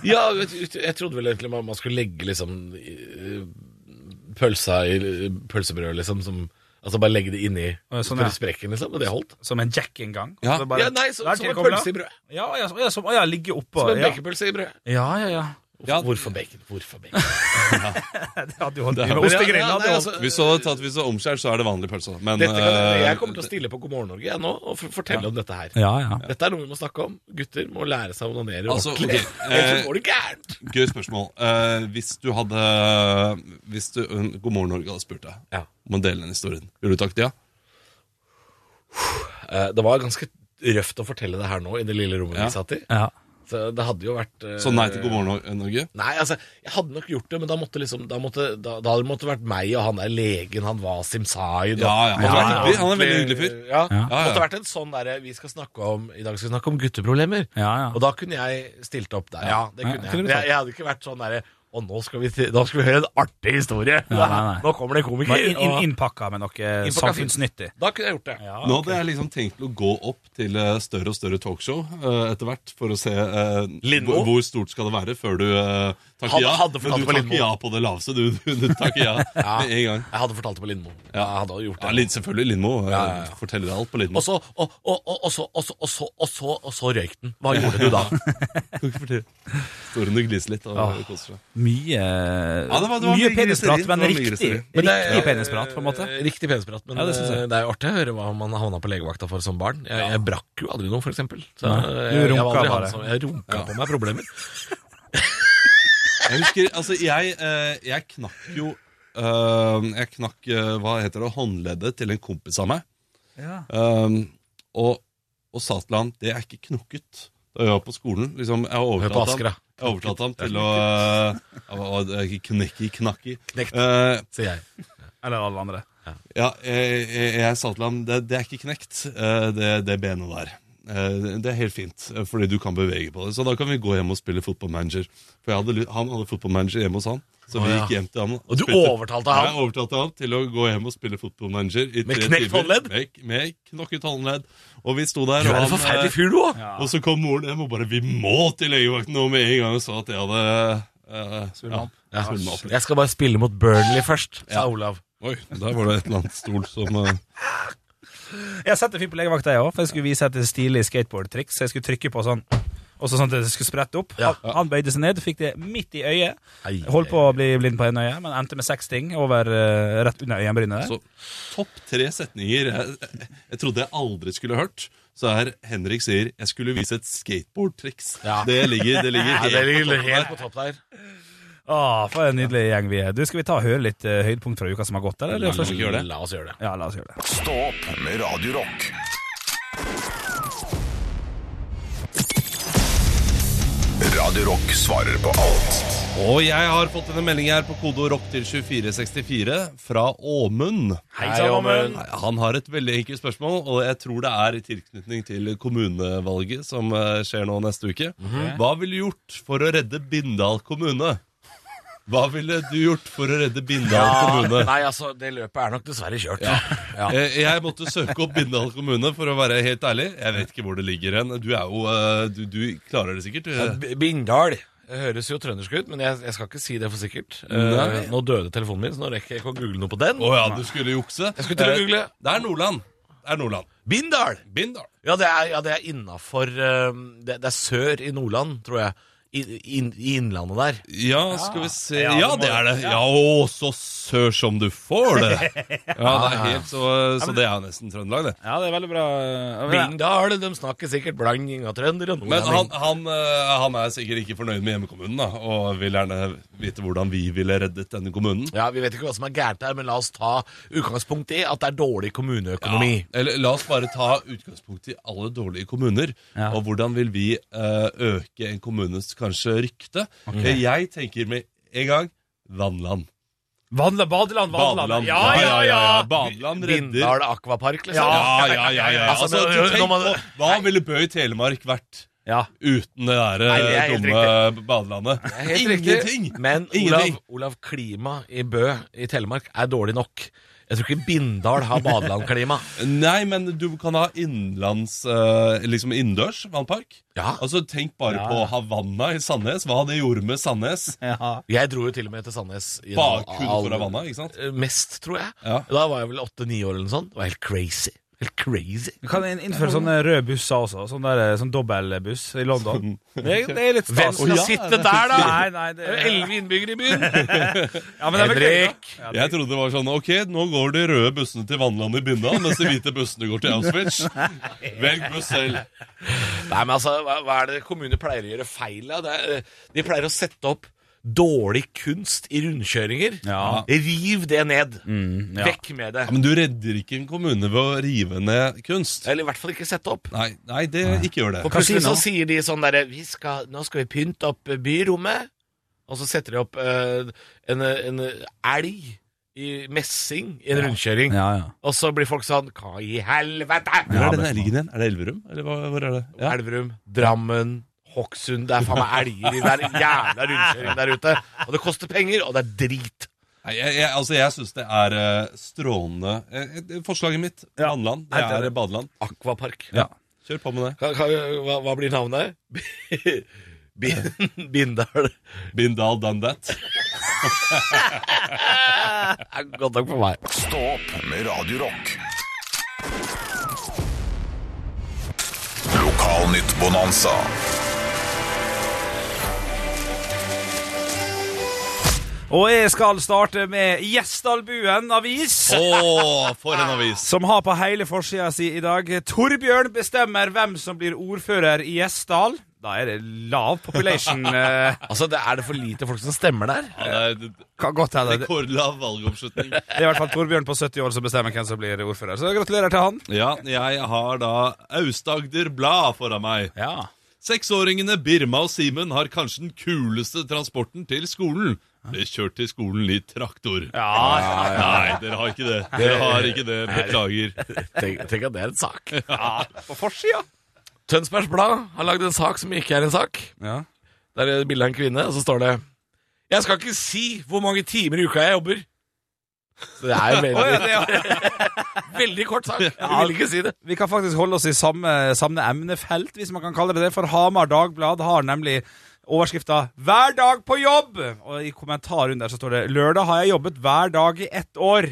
Speaker 3: Ja, jeg jeg trodde vel egentlig man man skulle legge liksom eh, pølsa i pølsebrød, liksom. Som, altså bare legge det inni
Speaker 4: Ja, sånn,
Speaker 3: sånn,
Speaker 4: ja.
Speaker 3: sprekken, liksom. Og det holdt.
Speaker 4: Som en jack en gang.
Speaker 5: Ja.
Speaker 4: Så bare-
Speaker 3: Ja, nei, så-
Speaker 4: Der
Speaker 3: som en
Speaker 4: tilkoblet.
Speaker 3: pølse i brød.
Speaker 4: Ja, ja, som- ja, som, ja ligge oppå.
Speaker 3: Som en
Speaker 4: ja.
Speaker 3: baconpølse i brød.
Speaker 4: ja, ja, ja.
Speaker 5: Ja.
Speaker 3: Hvorfor bacon? Hvorfor bacon?
Speaker 4: Det hadde jo holdt
Speaker 5: Det
Speaker 4: i med
Speaker 5: hadde-
Speaker 4: ostegrillen.
Speaker 3: Ja,
Speaker 4: hadde
Speaker 3: nei,
Speaker 4: jo
Speaker 3: altså,
Speaker 4: holdt.
Speaker 5: Hvis du hadde tatt hvis du hadde omskjær, så er det vanlig pølse. da. Men
Speaker 3: Dette kan,
Speaker 5: eh,
Speaker 3: jeg kommer til å stille på God morgen Norge jeg, nå og for- fortelle om dette her.
Speaker 4: Ja, ja.
Speaker 3: Dette er noe vi må snakke om. Gutter må lære seg å onanere
Speaker 5: Altså,
Speaker 3: ordentlig.
Speaker 5: ok, eh,
Speaker 3: (laughs) Ellers så går det gærent.
Speaker 5: Gøy spørsmål. Eh, hvis du hadde Hvis du, eh, God morgen, Norge hadde spurt deg
Speaker 3: Ja.
Speaker 5: om å dele den historien, ville du takket ja?
Speaker 3: Eh, Det var ganske røft å fortelle det her nå, i det lille rommet
Speaker 5: Ja.
Speaker 3: vi satt i.
Speaker 4: ja.
Speaker 3: Så det hadde jo vært eh,
Speaker 5: Så nei til God morgen, Nor- Norge?
Speaker 3: Nei, altså, jeg hadde nok gjort det, men da måtte liksom Da, måtte, da, da hadde det måtte vært meg og han der legen, han Wasim Zaid. og-
Speaker 5: Ja, ja. Han
Speaker 3: Måtte
Speaker 5: er
Speaker 3: vært en
Speaker 5: hyggelig. Han er en veldig
Speaker 3: ordentlig-
Speaker 5: hyggelig fyr.
Speaker 3: Ja,
Speaker 5: Ja, ja.
Speaker 3: Måtte vært en sånn derre Vi skal snakke om I dag skal vi snakke om gutteproblemer.
Speaker 4: Ja, ja.
Speaker 3: Og da kunne jeg stilt opp der. Ja, det
Speaker 4: Ja,
Speaker 3: kunne jeg.
Speaker 4: kunne du
Speaker 3: Men jeg. Jeg hadde ikke vært sånn derre og nå skal, vi, til- nå skal vi høre en artig historie!
Speaker 4: Nei, nei, nei.
Speaker 3: Nå kommer det en komiker!
Speaker 4: Bare inn- inn-
Speaker 3: og-
Speaker 4: Innpakka med noe
Speaker 3: Innpakka fint.
Speaker 4: samfunnsnyttig.
Speaker 3: Da kunne jeg gjort det. Ja.
Speaker 5: Nå hadde jeg liksom tenkt til å gå opp til eh, større og større talkshow eh, etter hvert, for å se eh,
Speaker 3: Lindmo?
Speaker 5: hvor, hvor stort skal det være før du eh, takker
Speaker 3: Han
Speaker 5: ja.
Speaker 3: hadde fortalt
Speaker 5: Men du
Speaker 3: på
Speaker 5: takker
Speaker 3: Lindmo.
Speaker 5: ja på det laveste. Du, du, du
Speaker 3: (laughs)
Speaker 5: takker ja med en gang.
Speaker 3: Jeg hadde fortalt det på Lindmo. Ja, jeg hadde gjort det.
Speaker 5: Ja, Lind- selvfølgelig Lindmo. eh,
Speaker 3: Ja, ja, ja.
Speaker 5: Forteller deg alt på Lindmo.
Speaker 3: Og så, og, og, og, og, så, og, så, og, så, og, så, og så røyk den. Hva gjorde du da?
Speaker 5: (laughs) Kan ikke fortelle. Står hun og gliser litt
Speaker 3: Ah.
Speaker 5: og koser seg.
Speaker 4: Mye,
Speaker 5: det var- det var
Speaker 4: mye penisprat,
Speaker 5: mye griseri.
Speaker 4: men
Speaker 5: Det var mye
Speaker 4: (laughs) riktig,
Speaker 5: griseri.
Speaker 3: Men det-
Speaker 4: riktig penisprat, på en måte.
Speaker 3: Eh, Riktig penisprat, men
Speaker 4: Ja, det
Speaker 3: det,
Speaker 4: synes jeg.
Speaker 3: det er jo artig å høre hva man havna på legevakta for som barn. Jeg, jeg brakk jo aldri noe, for eksempel. Så
Speaker 4: Nei,
Speaker 3: jeg,
Speaker 4: du
Speaker 3: jeg,
Speaker 4: runka
Speaker 3: var aldri
Speaker 4: bare.
Speaker 3: han som, jeg runka på meg problemer.
Speaker 5: Jeg husker, altså jeg, eh, jeg knakk jo eh, Jeg knakk, eh, hva heter det, håndleddet til en kompis av meg Eh, og, og sa til han, det er ikke knokket Da jeg var på skolen liksom, Jeg
Speaker 3: Hør på
Speaker 5: overtalte
Speaker 3: Asker,
Speaker 5: han,
Speaker 3: da.
Speaker 5: jeg overtalte han til å eh, Knekki, knakki
Speaker 3: Knekt.
Speaker 5: Eh,
Speaker 3: Sier jeg.
Speaker 4: Eller alle andre.
Speaker 5: ja, jeg, jeg, jeg sa til ham det, det er ikke knekt, eh, det, det benet der. Eh, Det det er helt fint, eh, fordi du kan bevege på det. Så da kan vi gå hjem og spille fotballmanager. For jeg hadde, ly- han hadde fotballmanager hjemme hos han. Så vi
Speaker 3: Å, ja.
Speaker 5: gikk hjem til han.
Speaker 3: Og du overtalte han?
Speaker 5: Jeg overtalte han til å gå hjem og spille fotballmanager. i
Speaker 3: Med
Speaker 5: tre
Speaker 3: knekt
Speaker 5: timer.
Speaker 3: håndledd?
Speaker 5: Med, med knokket håndledd. Og vi sto der.
Speaker 3: Du
Speaker 5: og
Speaker 3: er en
Speaker 5: han,
Speaker 3: forferdelig
Speaker 5: eh,
Speaker 3: fyr, du òg!
Speaker 5: Og så kom moren hjem og bare 'Vi må til legevakten nå med en gang', og sa at jeg hadde eh, ja,
Speaker 3: Ja.
Speaker 5: svulmet opp litt.
Speaker 3: Jeg skal bare spille mot Burnley først, sa Olav.
Speaker 5: Oi, der var det et eller annet stol som eh,
Speaker 4: Jeg har sett en fyr på legevakta, jeg òg, for jeg skulle vise et stilig skateboardtriks. Så jeg skulle trykke på sånn, og så sånn at det skulle sprette opp.
Speaker 3: Ja.
Speaker 4: Han, han bøyde seg ned, fikk det midt i øyet.
Speaker 3: Ei,
Speaker 4: Holdt på å bli blind på ene øyet, men endte med seks ting over, eh, rett under øyenbrynet. der.
Speaker 5: Så topp tre setninger jeg, jeg trodde jeg aldri skulle hørt. Så er Henrik sier 'jeg skulle vise et skateboardtriks'.
Speaker 3: Ja.
Speaker 5: Det ligger, det ligger
Speaker 3: (laughs) Ja,
Speaker 5: helt
Speaker 3: det
Speaker 5: på
Speaker 3: ligger
Speaker 5: toppen
Speaker 3: helt
Speaker 5: der.
Speaker 3: på topp der.
Speaker 4: Ah, for en nydelig gjeng vi er. Du, Skal vi ta og høre litt eh, høydepunkt fra uka som har gått? Eller?
Speaker 5: La oss ikke gjøre det.
Speaker 3: La oss gjøre det.
Speaker 4: Ja, la oss gjøre det.
Speaker 1: Stå opp med Radio Rock. Radio Rock svarer på alt.
Speaker 5: Og jeg har fått en melding her på kodeord rock til 2464 fra Åmund.
Speaker 3: Hei, Åmund.
Speaker 5: Nei, Han har et veldig enkelt spørsmål, og jeg tror det er i tilknytning til kommunevalget som
Speaker 3: Mhm.
Speaker 5: eh, skjer nå neste uke. Hva ville du gjort for å redde Bindal kommune? Hva ville du gjort for å redde Bindal kommune?
Speaker 3: nei, altså, det løpet er nok dessverre kjørt. Ja.
Speaker 5: Eh, Jeg måtte søke opp Bindal kommune, for å være helt ærlig. Jeg vet ikke hvor det ligger hen. Du er jo eh, Du, du klarer det sikkert.
Speaker 3: Ja, B- Bindal høres jo trøndersk ut, men jeg, jeg skal ikke si det for sikkert. Eh, nå døde telefonen min, så nå rekker jeg ikke å google noe på den.
Speaker 5: Å ja, du skulle jukse?
Speaker 3: Jeg skulle til å
Speaker 5: Eh,
Speaker 3: google.
Speaker 5: Det er Nordland. Det er Nordland.
Speaker 3: Bindal!
Speaker 5: Bindal.
Speaker 3: Ja, det er, ja, det er innafor eh, det, det er sør i Nordland, tror jeg. I, inn- i Innlandet der.
Speaker 5: Ja, skal vi se
Speaker 4: Ja,
Speaker 5: Ja,
Speaker 4: det må-
Speaker 5: det er det. Ja, å, så sør som du får det. Ja, det er helt så Så det er jo nesten Trøndelag, det.
Speaker 4: Ja, det er veldig bra. eh,
Speaker 3: Bindal, de snakker sikkert blanding av trønder og
Speaker 5: Men han,
Speaker 3: nordlending.
Speaker 5: han, eh, han er sikkert ikke fornøyd med hjemmekommunen, da, og vil gjerne vite hvordan vi ville reddet denne kommunen.
Speaker 3: Ja, Vi vet ikke hva som er gærent her, men la oss ta utgangspunkt i at det er dårlig kommuneøkonomi.
Speaker 5: Eller la oss bare ta utgangspunkt i alle dårlige kommuner.
Speaker 4: Ja.
Speaker 5: Og hvordan vil vi eh, øke en kommunes kanskje rykte? Eh, Jeg tenker med en gang Vannland.
Speaker 4: Vanla, badeland, badeland. Ja, ja, ja.
Speaker 5: Badeland redder
Speaker 3: Bindal akvapark, liksom.
Speaker 5: Ja, ja, ja. ja.
Speaker 3: Altså,
Speaker 5: Altså,
Speaker 3: nå-
Speaker 5: du
Speaker 3: nå
Speaker 5: tenk
Speaker 3: må-
Speaker 5: på, hva ville Bø i Telemark vært
Speaker 4: ja.
Speaker 5: uten det der eh,
Speaker 3: Nei, det er helt
Speaker 5: dumme badelandet?
Speaker 3: Det er helt
Speaker 5: Ingenting!
Speaker 3: Riktig. Men Olav,
Speaker 5: Ingenting.
Speaker 3: Olav, klima i Bø i Telemark er dårlig nok. Jeg tror ikke Bindal har badelandklima.
Speaker 5: Nei, men du kan ha innenlands eh, Liksom innendørs vannpark.
Speaker 3: Ja.
Speaker 5: Altså, Tenk bare på Havanna i Sandnes. Hva det gjorde med Sandnes.
Speaker 4: ja.
Speaker 3: Jeg dro jo til og med til Sandnes. i en
Speaker 5: Bare kun
Speaker 3: al-
Speaker 5: for Havanna, ikke sant?
Speaker 3: Eh, Mest, tror jeg.
Speaker 5: Ja.
Speaker 3: Da var jeg vel åtte-ni år eller noe sånt. Det var helt crazy. Helt crazy.
Speaker 4: Du kan inn- innføre sånne røde busser også. Sånn, der, sånn dobbeltbuss i London. Det, er- det er litt
Speaker 3: Hvem
Speaker 4: stas.
Speaker 3: skal sitte der, da?
Speaker 4: Nei, nei, det
Speaker 3: Det er jo
Speaker 4: er,
Speaker 3: Elleve innbyggere i (laughs) byen.
Speaker 4: ja, men det er vel gøy, da.
Speaker 3: Henrik.
Speaker 5: Jeg trodde det var sånn Ok, nå går de røde bussene til Vannland i
Speaker 3: (laughs)
Speaker 5: Bindal, mens de hvite bussene går til Auschwitz. Velg buss selv.
Speaker 3: Nei, men altså, hva, hva er det kommuner pleier å gjøre feil av? Det er, eh, De pleier å sette opp dårlig kunst i rundkjøringer.
Speaker 4: Ja. Mm,
Speaker 3: Riv det ned.
Speaker 4: ja.
Speaker 3: Vekk med det.
Speaker 5: Ja, men du redder ikke en kommune ved å rive ned kunst.
Speaker 3: Eller i hvert fall ikke sette opp.
Speaker 5: Nei, nei det, ikke gjør det.
Speaker 3: Og plutselig så sier de sånn derre «Vi skal- Nå skal vi pynte opp byrommet. Og så setter de opp eh, en, en elg i messing i en rundkjøring.
Speaker 4: Ja, ja.
Speaker 3: Og så blir folk sånn Hva i helvete?
Speaker 5: Hvor er den elgen igjen? Er det Elverum? Eller hva, hvor er det? Ja.
Speaker 3: Elverum, Drammen, Hokksund. Det er faen meg elger i den jævla rundkjøringen der ute. Og det koster penger, og det er drit.
Speaker 5: Nei, jeg, jeg, altså, jeg syns det er eh, strålende. Eh, eh, forslaget mitt,
Speaker 4: Ja.
Speaker 5: Vannland, det
Speaker 4: Helt
Speaker 5: er
Speaker 4: enig.
Speaker 5: badeland.
Speaker 3: Akvapark.
Speaker 4: Ja.
Speaker 5: Kjør på med det.
Speaker 3: Hva, hva, hva blir navnet? (laughs) Bin- Bindal.
Speaker 5: Bindal done (laughs) that.
Speaker 3: Det er godt nok for meg.
Speaker 1: Stå opp med Radio Rock. Lokalnytt Bonanza.
Speaker 4: Og jeg skal starte med Gjesdalbuen avis.
Speaker 5: Å, for en avis!
Speaker 4: Som har på hele forsida si i dag Torbjørn bestemmer hvem som blir ordfører i Gjesdal. Da er det lav
Speaker 3: (laughs)
Speaker 4: population. eh,
Speaker 3: Altså, det Er det for lite folk som stemmer der?
Speaker 5: Ja, det er
Speaker 4: kan godt hende. Det
Speaker 5: Rekordlav valgoppslutning.
Speaker 4: det er i hvert fall Torbjørn på 70 år som bestemmer hvem som blir ordfører. Så gratulerer til han.
Speaker 5: (laughs) Ja, jeg har da Aust-Agder Blad foran meg.
Speaker 4: Ja.
Speaker 5: Seksåringene Birma og Simen har kanskje den kuleste transporten til skolen. Ble kjørt til skolen i traktor. Nei, dere har ikke det. Dere har ikke det. (laughs) Beklager.
Speaker 3: Tenk, tenk at det er en sak.
Speaker 4: På forsida.
Speaker 3: Tønsbergs Blad har lagd en sak som ikke er en sak.
Speaker 4: Ja.
Speaker 3: Der er det bilde av en kvinne, og så står det 'Jeg skal ikke si hvor mange timer i uka jeg jobber'. Så det er en
Speaker 4: Å, ja,
Speaker 3: veldig,
Speaker 4: det, ja.
Speaker 3: veldig kort sak. Jeg vil ikke si det.
Speaker 4: Vi kan faktisk holde oss i samme, samme emnefelt, hvis man kan kalle det det, for Hamar Dagblad har nemlig overskrifta 'Hver dag på jobb', og i kommentaren under så står det 'Lørdag har jeg jobbet hver dag i ett år'.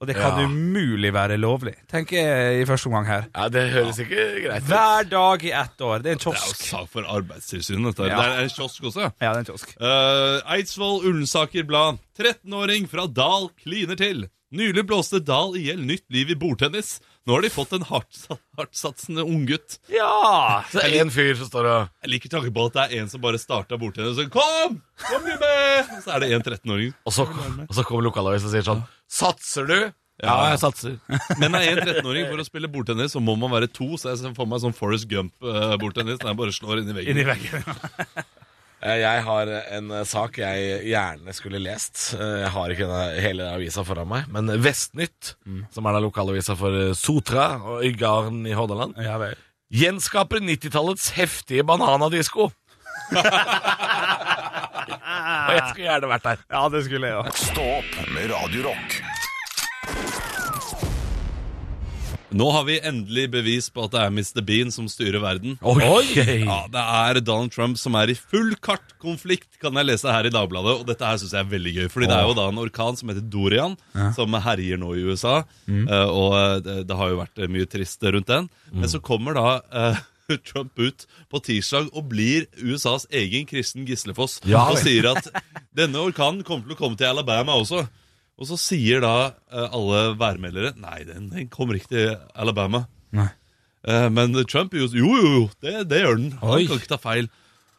Speaker 4: Og det kan
Speaker 3: Ja.
Speaker 4: umulig være lovlig, tenker jeg i første omgang her.
Speaker 3: Ja, Det høres ikke greit ut.
Speaker 4: Hver dag i ett år. Det er en
Speaker 5: Det er jo
Speaker 4: kiosk.
Speaker 5: sak for Arbeidstilsynet. dette her.
Speaker 4: Ja.
Speaker 5: Det er en kiosk også.
Speaker 4: Ja, det er en kiosk.
Speaker 5: Eh, Eidsvoll Ullensaker Blad. 13-åring fra Dal kliner til. Nylig blåste Dal i hjel nytt liv i bordtennis. Nå har de fått en hardtsa- hardtsatsende unggutt.
Speaker 4: Ja!
Speaker 3: Så er det en fyr som står og
Speaker 5: Jeg liker tanken på at det er en som bare starta bordtennis og så, Kom! Kom du med! Og så er det en 13-åring.
Speaker 3: Og så, og så kommer lokalavisen og sier sånn 'Satser du?' Ja, jeg satser.
Speaker 5: Men er en 13-åring for å spille bordtennis, så må man være to. Så jeg ser for meg sånn Forrest Gump-bordtennis. Den bare slår inn i veggen.
Speaker 4: Inni veggen.
Speaker 3: (laughs) Eh, Jeg har en eh, sak jeg gjerne skulle lest. Eh, Jeg har ikke denne hele avisa foran meg, men Vestnytt, som er da lokalavisa for eh, Sotra og Øygarden i Hordaland,
Speaker 4: Ja vel.
Speaker 3: gjenskaper 90-tallets heftige bananadisko. og Jeg skulle gjerne vært der.
Speaker 4: Ja, det skulle jeg òg.
Speaker 1: Stå opp med Radio Rock.
Speaker 5: Nå har vi endelig bevis på at det er Mr. Bean som styrer verden.
Speaker 3: Oi!
Speaker 5: Ja, Det er Donald Trump som er i full kartkonflikt, kan jeg lese her i Dagbladet. Og dette her syns jeg er veldig gøy, Fordi det er jo da en orkan som heter Dorian, som herjer nå i USA.
Speaker 3: Mm.
Speaker 5: eh, Og eh, det, det har jo vært eh, mye trist rundt den.
Speaker 3: Mm.
Speaker 5: Men så kommer da eh, (laughs) Trump ut på tirsdag og blir USAs egen kristen Gislefoss.
Speaker 3: Ja,
Speaker 5: og
Speaker 3: vel.
Speaker 5: sier
Speaker 3: (laughs)
Speaker 5: at denne orkanen kommer til å komme til Alabama også. Og så sier da eh, alle værmeldere Nei, den, den kommer ikke til Alabama.
Speaker 4: Nei.
Speaker 5: Eh, Men Trump jo, jo, jo, jo, det, det gjør den. Han
Speaker 4: Oi.
Speaker 5: kan ikke ta feil.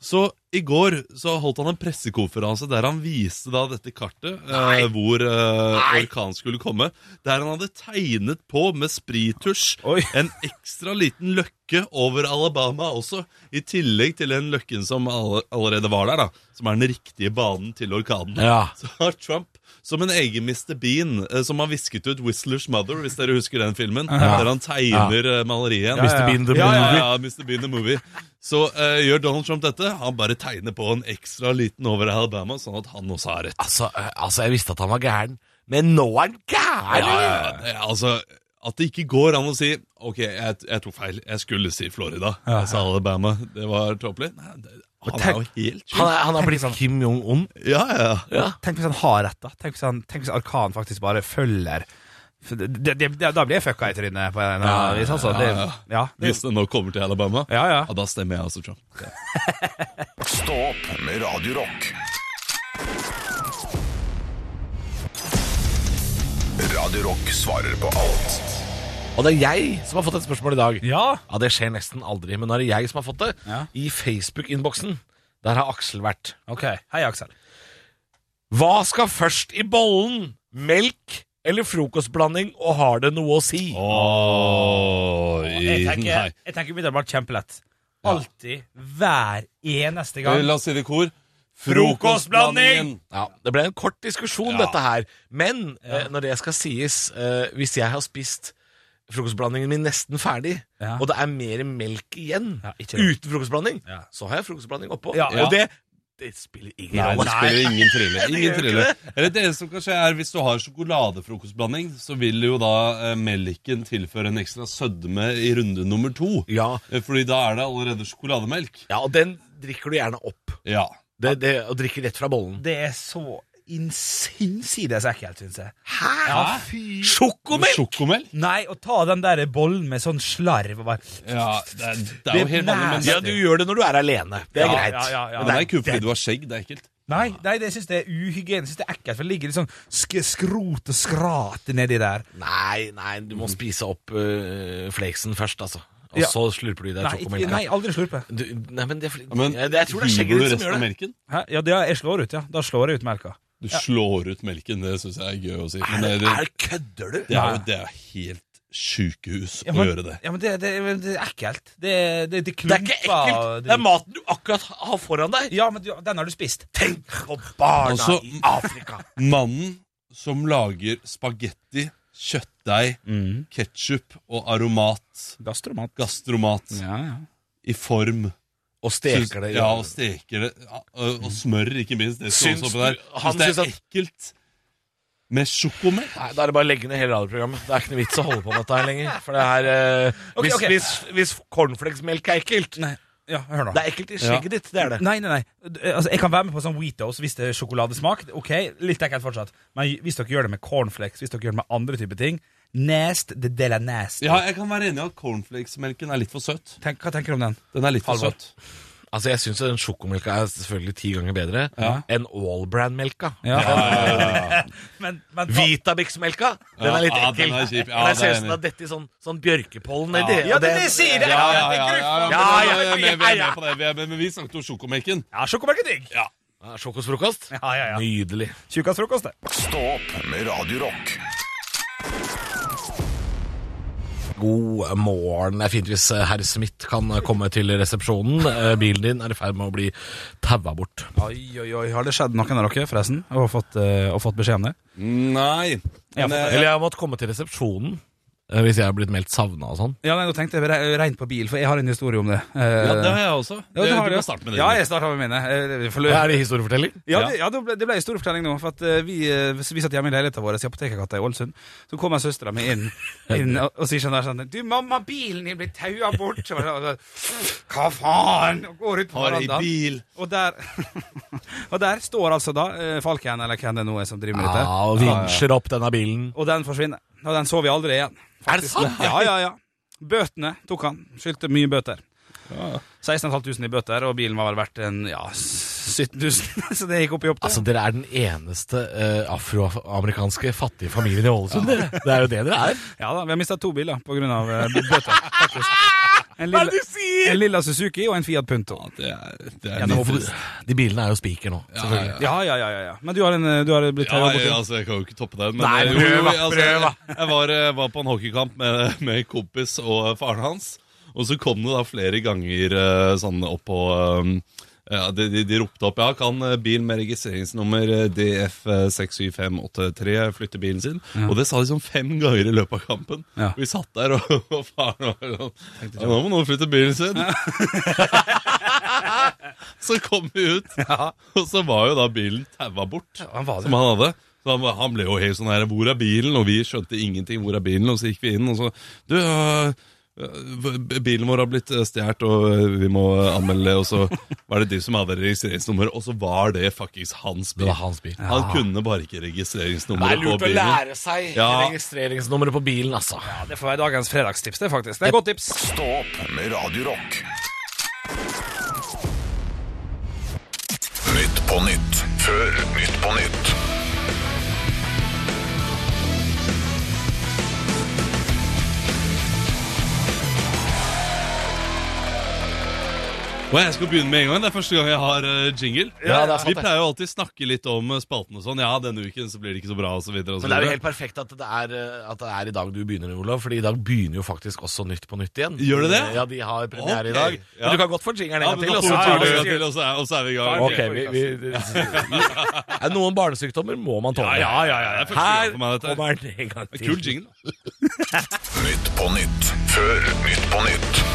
Speaker 5: Så i går så holdt han en pressekonferanse der han viste da dette kartet, eh, hvor eh, orkanen skulle komme. Der han hadde tegnet på med sprittusj
Speaker 4: Oi.
Speaker 5: en ekstra liten løkke over Alabama også. I tillegg til den løkken som alle, allerede var der, da. Som er den riktige banen til orkanen.
Speaker 3: Ja.
Speaker 5: Så har Trump som en egen Mr. Bean, eh, som har visket ut Whistlers Mother, hvis dere husker den filmen. Der han tegner eh, maleriet.
Speaker 4: Ja, ja. Mr.
Speaker 3: Bean the
Speaker 5: ja, ja,
Speaker 3: movie.
Speaker 5: ja, Mr. Bean the movie. Så eh, gjør Donald Trump dette. Han bare tegner på en ekstra liten over Alabama, sånn at han også har rett.
Speaker 3: Altså, eh, altså, jeg visste at han var gæren, men nå er han gæren!
Speaker 5: Ja, ja, ja. Det, er altså, at det ikke går an å si Ok, jeg, jeg tok feil. Jeg skulle si Florida. Jeg sa Alabama. Det var tåpelig. Nei, det- Han er jo helt
Speaker 3: Han,
Speaker 5: sjuk.
Speaker 3: er, han er blitt Kim Jong-un.
Speaker 5: Ja, ja.
Speaker 3: Ja.
Speaker 4: Tenk hvis han har rett, da. Tenk hvis, han, tenk hvis Arkan faktisk bare følger For det, det, det, Da blir jeg fucka i trynet på en eller annen vis, altså. Det, ja, det,
Speaker 5: Hvis det nå kommer til Alabama,
Speaker 4: ja, ja.
Speaker 5: da stemmer jeg også Trump. Ja.
Speaker 1: Stå opp med Radio Rock. Radio Rock svarer på alt.
Speaker 3: Og det er jeg som har fått et spørsmål i dag.
Speaker 4: ja.
Speaker 3: Ja, Det skjer nesten aldri, men nå er det jeg som har fått det.
Speaker 4: Ja.
Speaker 3: I Facebook-innboksen. Der har Aksel vært.
Speaker 4: Ok. Hei, Aksel.
Speaker 3: Hva skal først i bollen? Melk eller frokostblanding, og har det noe å si?
Speaker 4: Jeg tenker, jeg tenker umiddelbart kjempelett. Alltid, hver eneste gang.
Speaker 5: Eh, La oss si det i kor.
Speaker 4: Frokostblanding!
Speaker 3: Ja, Det ble en kort diskusjon, dette her. Men eh, når det skal sies, eh, hvis jeg har spist frokostblandingen min nesten ferdig,
Speaker 4: Ja.
Speaker 3: og det er mer melk igjen
Speaker 4: Ja, ikke det.
Speaker 3: uten frokostblanding,
Speaker 4: Ja.
Speaker 3: så har jeg frokostblanding oppå.
Speaker 4: Ja.
Speaker 3: Og det, det spiller ingen
Speaker 5: Nei, det
Speaker 3: rolle.
Speaker 5: spiller ingen
Speaker 3: (laughs)
Speaker 5: trille. Ingen
Speaker 3: gjør
Speaker 5: trille. Eller det eneste som kan skje er Hvis du har sjokoladefrokostblanding, så vil jo da eh, melken tilføre en ekstra sødme i runde nummer to.
Speaker 3: Ja.
Speaker 5: Eh, Fordi da er det allerede sjokolademelk.
Speaker 3: ja, og den drikker du gjerne opp.
Speaker 5: Ja.
Speaker 3: Det, det, og drikker rett fra bollen.
Speaker 4: Det er så innsides ekkelt, syns jeg.
Speaker 3: Hæ?!
Speaker 4: Ja, fy
Speaker 3: Sjokomelk!
Speaker 5: Sjokomelk?
Speaker 4: Nei, å ta den der bollen med sånn slarv og bare
Speaker 5: Ja, det er, det er jo
Speaker 4: Det er
Speaker 5: helt vanlig. Men det,
Speaker 3: Ja, du gjør det når du er alene. Det er
Speaker 4: Ja,
Speaker 3: greit.
Speaker 4: ja, ja, ja.
Speaker 5: men det er kun fordi du har skjegg. Det er ekkelt.
Speaker 4: Nei, nei det syns jeg er uhygienisk. Det er ekkelt, for det ligger litt sånn sk skrot og skrat nedi der.
Speaker 3: Nei, nei, du må spise opp øh, flakesen først, altså. Og
Speaker 4: Ja.
Speaker 3: så slurper du i deg
Speaker 4: Nei, ikke,
Speaker 3: sjokomelka.
Speaker 4: nei aldri slurpe.
Speaker 3: Du, nei, men det er fordi-
Speaker 5: Ja, Men
Speaker 3: jeg, jeg tror det er
Speaker 5: hiver
Speaker 3: skjegget
Speaker 5: du
Speaker 3: ditt som
Speaker 5: resten
Speaker 3: gjør
Speaker 5: av
Speaker 3: det.
Speaker 5: melken?
Speaker 4: Hæ? Ja, det, jeg slår ut, ja. Da slår jeg ut melka.
Speaker 5: Du slår ut melken. Det syns jeg er gøy å si. Men det,
Speaker 3: Er,
Speaker 5: det,
Speaker 3: er, kødder du?
Speaker 5: det er jo det er helt sjukehus
Speaker 4: Ja,
Speaker 5: å
Speaker 4: men,
Speaker 5: gjøre det.
Speaker 4: Ja, men det, det, men det er ekkelt. Det, det, det
Speaker 3: Det er
Speaker 4: klumper.
Speaker 3: ikke ekkelt. Det er maten du akkurat har foran deg.
Speaker 4: Ja, men du, den har du spist.
Speaker 3: Tenk på barna
Speaker 5: Altså-
Speaker 3: i Afrika.
Speaker 5: Mannen som lager spagetti, kjøttdeig, ketsjup og aromat,
Speaker 4: Gastromat.
Speaker 5: gastromat,
Speaker 4: Ja, ja.
Speaker 5: i form
Speaker 3: Og steker det. i-
Speaker 5: Ja, og steker det. Ja, Og, og smør, ikke minst. Det skal
Speaker 3: Syns
Speaker 5: også på der.
Speaker 3: du- han
Speaker 5: Syns det
Speaker 3: syns
Speaker 5: er
Speaker 3: at-
Speaker 5: ekkelt med sjokomelk?
Speaker 3: Nei, Da er det bare å legge ned hele radioprogrammet. Det er ikke noe vits å holde på med dette her lenger. For det er øh,
Speaker 4: Ok,
Speaker 3: Hvis,
Speaker 4: ok.
Speaker 3: hvis, hvis cornflakesmelk er ekkelt
Speaker 4: Nei, ja, hør nå.
Speaker 3: Det er ekkelt i skjegget ditt, det er det.
Speaker 4: Nei, nei, nei. D- Altså, jeg kan være med på sånn Wheatos hvis det er sjokoladesmak. Ok, litt ekkelt fortsatt. Men hvis dere gjør det med cornflakes, hvis dere gjør det med andre typer ting Nest, det del er nest.
Speaker 5: Ja, jeg kan være enig i at cornflakesmelken er litt for søt.
Speaker 4: Tenk, hva tenker du om den?
Speaker 5: Den er litt for
Speaker 4: Halvor.
Speaker 5: søt.
Speaker 3: Altså, jeg syns den sjokomelka er selvfølgelig ti ganger bedre enn Allbrand-melka.
Speaker 4: Ja.
Speaker 5: Ja,
Speaker 4: (laughs) Men, men ta-
Speaker 3: Vitabix-melka, den er litt
Speaker 5: Ja,
Speaker 3: ekkel.
Speaker 5: den er kjip.
Speaker 3: Den er
Speaker 5: Ja, det er
Speaker 3: ser ut som
Speaker 5: enig.
Speaker 3: den har dett i sånn, sånn bjørkepollen nedi.
Speaker 4: Ja,
Speaker 3: og
Speaker 4: det,
Speaker 3: den-
Speaker 4: det sier jeg!
Speaker 5: ja,
Speaker 4: ja,
Speaker 5: ja, ja, ja, ja,
Speaker 3: Ja,
Speaker 5: men-
Speaker 3: ja,
Speaker 5: men- men- vi er
Speaker 3: ja.
Speaker 5: med på det. Vi er med, men vi snakket om sjokomelken.
Speaker 4: ja Sjokomelk er digg. Ja,
Speaker 3: Ja, Sjokosfrokost.
Speaker 4: ja, ja.
Speaker 3: Nydelig.
Speaker 4: Tjukkast frokost, det.
Speaker 1: Stå opp med Radio Rock.
Speaker 3: God morgen. Det er fint hvis eh, herr Smith kan eh, komme til resepsjonen. Eh, Bilen din er i ferd med å bli taua bort.
Speaker 4: Oi, oi, oi. Har det skjedd noen av dere, forresten? Og fått, eh, og fått beskjed om det?
Speaker 5: Nei.
Speaker 4: Ja,
Speaker 5: Men,
Speaker 4: for-
Speaker 5: eh,
Speaker 3: Eller jeg har måttet komme til resepsjonen. eh, hvis jeg er blitt meldt savna og sånn.
Speaker 4: Ja, nei, nå tenkte jeg re- rent på bil, for jeg har en historie om det. Eh,
Speaker 5: Ja, det har jeg også.
Speaker 4: Ja, det
Speaker 5: Eh,
Speaker 4: har
Speaker 5: du
Speaker 4: du.
Speaker 5: må starte med det.
Speaker 4: Ja, jeg starter med mine. Eh, vi får lø-
Speaker 3: Er det historiefortelling?
Speaker 4: Ja,
Speaker 5: Ja.
Speaker 4: det, ja, det ble, det ble en stor fortelling nå. For at eh, vi, eh, vi satt hjemme i leiligheten vår i Apotekergata i Ålesund. Så kommer søstera mi inn,
Speaker 5: (laughs)
Speaker 4: inn og, og sier sånn der sånn Du, mamma, bilen din blir taua bort! sånn, Og jeg bare, Hva faen? Og går ut på
Speaker 5: Har ei
Speaker 4: verandaen.
Speaker 5: bil.
Speaker 4: Og der, (laughs) og der står altså da eh, Falken, eller hvem det nå er som driver med
Speaker 3: Ja,
Speaker 4: dette.
Speaker 3: og vinsjer opp denne bilen.
Speaker 4: Og den forsvinner. Og den så vi aldri igjen.
Speaker 3: Er det sant?
Speaker 4: Ja, ja, ja. Bøtene tok han. Skyldte mye bøter. 16 500 i bøter, og bilen var vel verdt en, ja, 17 000. (laughs) Så det gikk opp i opp. det.
Speaker 3: Altså, Dere er den eneste eh, afroamerikanske fattige familien i Ålesund, dere. Det er jo det dere er.
Speaker 4: Ja da, vi har mista to biler pga. eh, bøter. faktisk. En lilla, en lilla Suzuki og en Fiat Punto.
Speaker 5: Det er, det er
Speaker 4: Ja, nå
Speaker 5: litt
Speaker 4: får du-
Speaker 5: trist.
Speaker 3: De bilene er jo spiker nå. selvfølgelig.
Speaker 4: Ja, ja, ja. ja, ja. Men du har, en, eh, du har blitt
Speaker 5: Ja,
Speaker 4: taua
Speaker 5: jeg,
Speaker 4: borti?
Speaker 5: altså, jeg kan jo ikke toppe den. Men,
Speaker 3: Nei,
Speaker 5: jo,
Speaker 3: prøv, da,
Speaker 5: altså,
Speaker 3: prøv, da.
Speaker 5: Jeg, jeg var, eh, var på en hockeykamp med, med en kompis og eh, faren hans. Og så kom det da flere ganger eh, sånn opp på eh, ja, de, de, de ropte opp Ja, kan eh, bil med registreringsnummer eh, DF67583 flytte bilen sin? Og det sa de sånn fem ganger i løpet av kampen.
Speaker 4: Ja.
Speaker 5: Vi satt der, og, (laughs) og faren var sånn ja, Nå må noen flytte bilen sin! (laughs) så kom vi ut, og så var jo da bilen taua bort
Speaker 4: Han var
Speaker 5: som han hadde. Så han, han ble jo helt sånn her Hvor er bilen? Og vi skjønte ingenting. Hvor er bilen? Og så gikk vi inn, og så Du, øh, øh, bilen vår har blitt stjålet, og øh, vi må anmelde Og så var det de som hadde registreringsnummer, og så var det fuckings hans
Speaker 3: Det
Speaker 5: bil.
Speaker 3: var hans bil.
Speaker 5: Han kunne bare ikke
Speaker 3: Det er
Speaker 5: registreringsnummeret på
Speaker 3: lurt å
Speaker 5: bilen.
Speaker 3: lære seg
Speaker 5: Ja.
Speaker 3: registreringsnummeret på bilen, altså.
Speaker 4: Ja, det får være dagens fredagstips, det, faktisk. Det er et godt tips.
Speaker 1: Stå opp med Radio Rock. Nytt på nytt før Nytt på nytt.
Speaker 5: Og jeg skal begynne med en gang. Det er første gang jeg har øh, jingle.
Speaker 3: Ja, det er sant,
Speaker 5: vi
Speaker 3: det.
Speaker 5: pleier jo alltid snakke litt om øh, spalten og sånn. Ja, denne uken så blir det ikke så bra, og så videre. Og så
Speaker 3: Men det er jo
Speaker 5: videre.
Speaker 3: helt perfekt at det er, eh, at det er i dag du begynner, Olav. Fordi i dag begynner jo faktisk også Nytt på Nytt igjen.
Speaker 5: Gjør det det?
Speaker 3: Ja, de har premiere
Speaker 5: Ok,
Speaker 3: i dag.
Speaker 5: ja.
Speaker 3: Men du kan godt få jingeren en
Speaker 5: Ja,
Speaker 3: gang
Speaker 5: men
Speaker 3: til.
Speaker 5: da
Speaker 3: og så
Speaker 5: får
Speaker 3: tar
Speaker 5: vi
Speaker 3: vi-
Speaker 5: jingle til, og så er, og så er vi i gang.
Speaker 3: Ok, vi, vi,
Speaker 5: (laughs)
Speaker 3: Er Noen barnesykdommer må man tåle.
Speaker 5: Ja, ja, ja, ja. Det er første gang
Speaker 3: Her
Speaker 5: for meg, dette.
Speaker 3: kommer den en gang til.
Speaker 5: Kul jingle.
Speaker 1: Nytt på nytt før Nytt på nytt.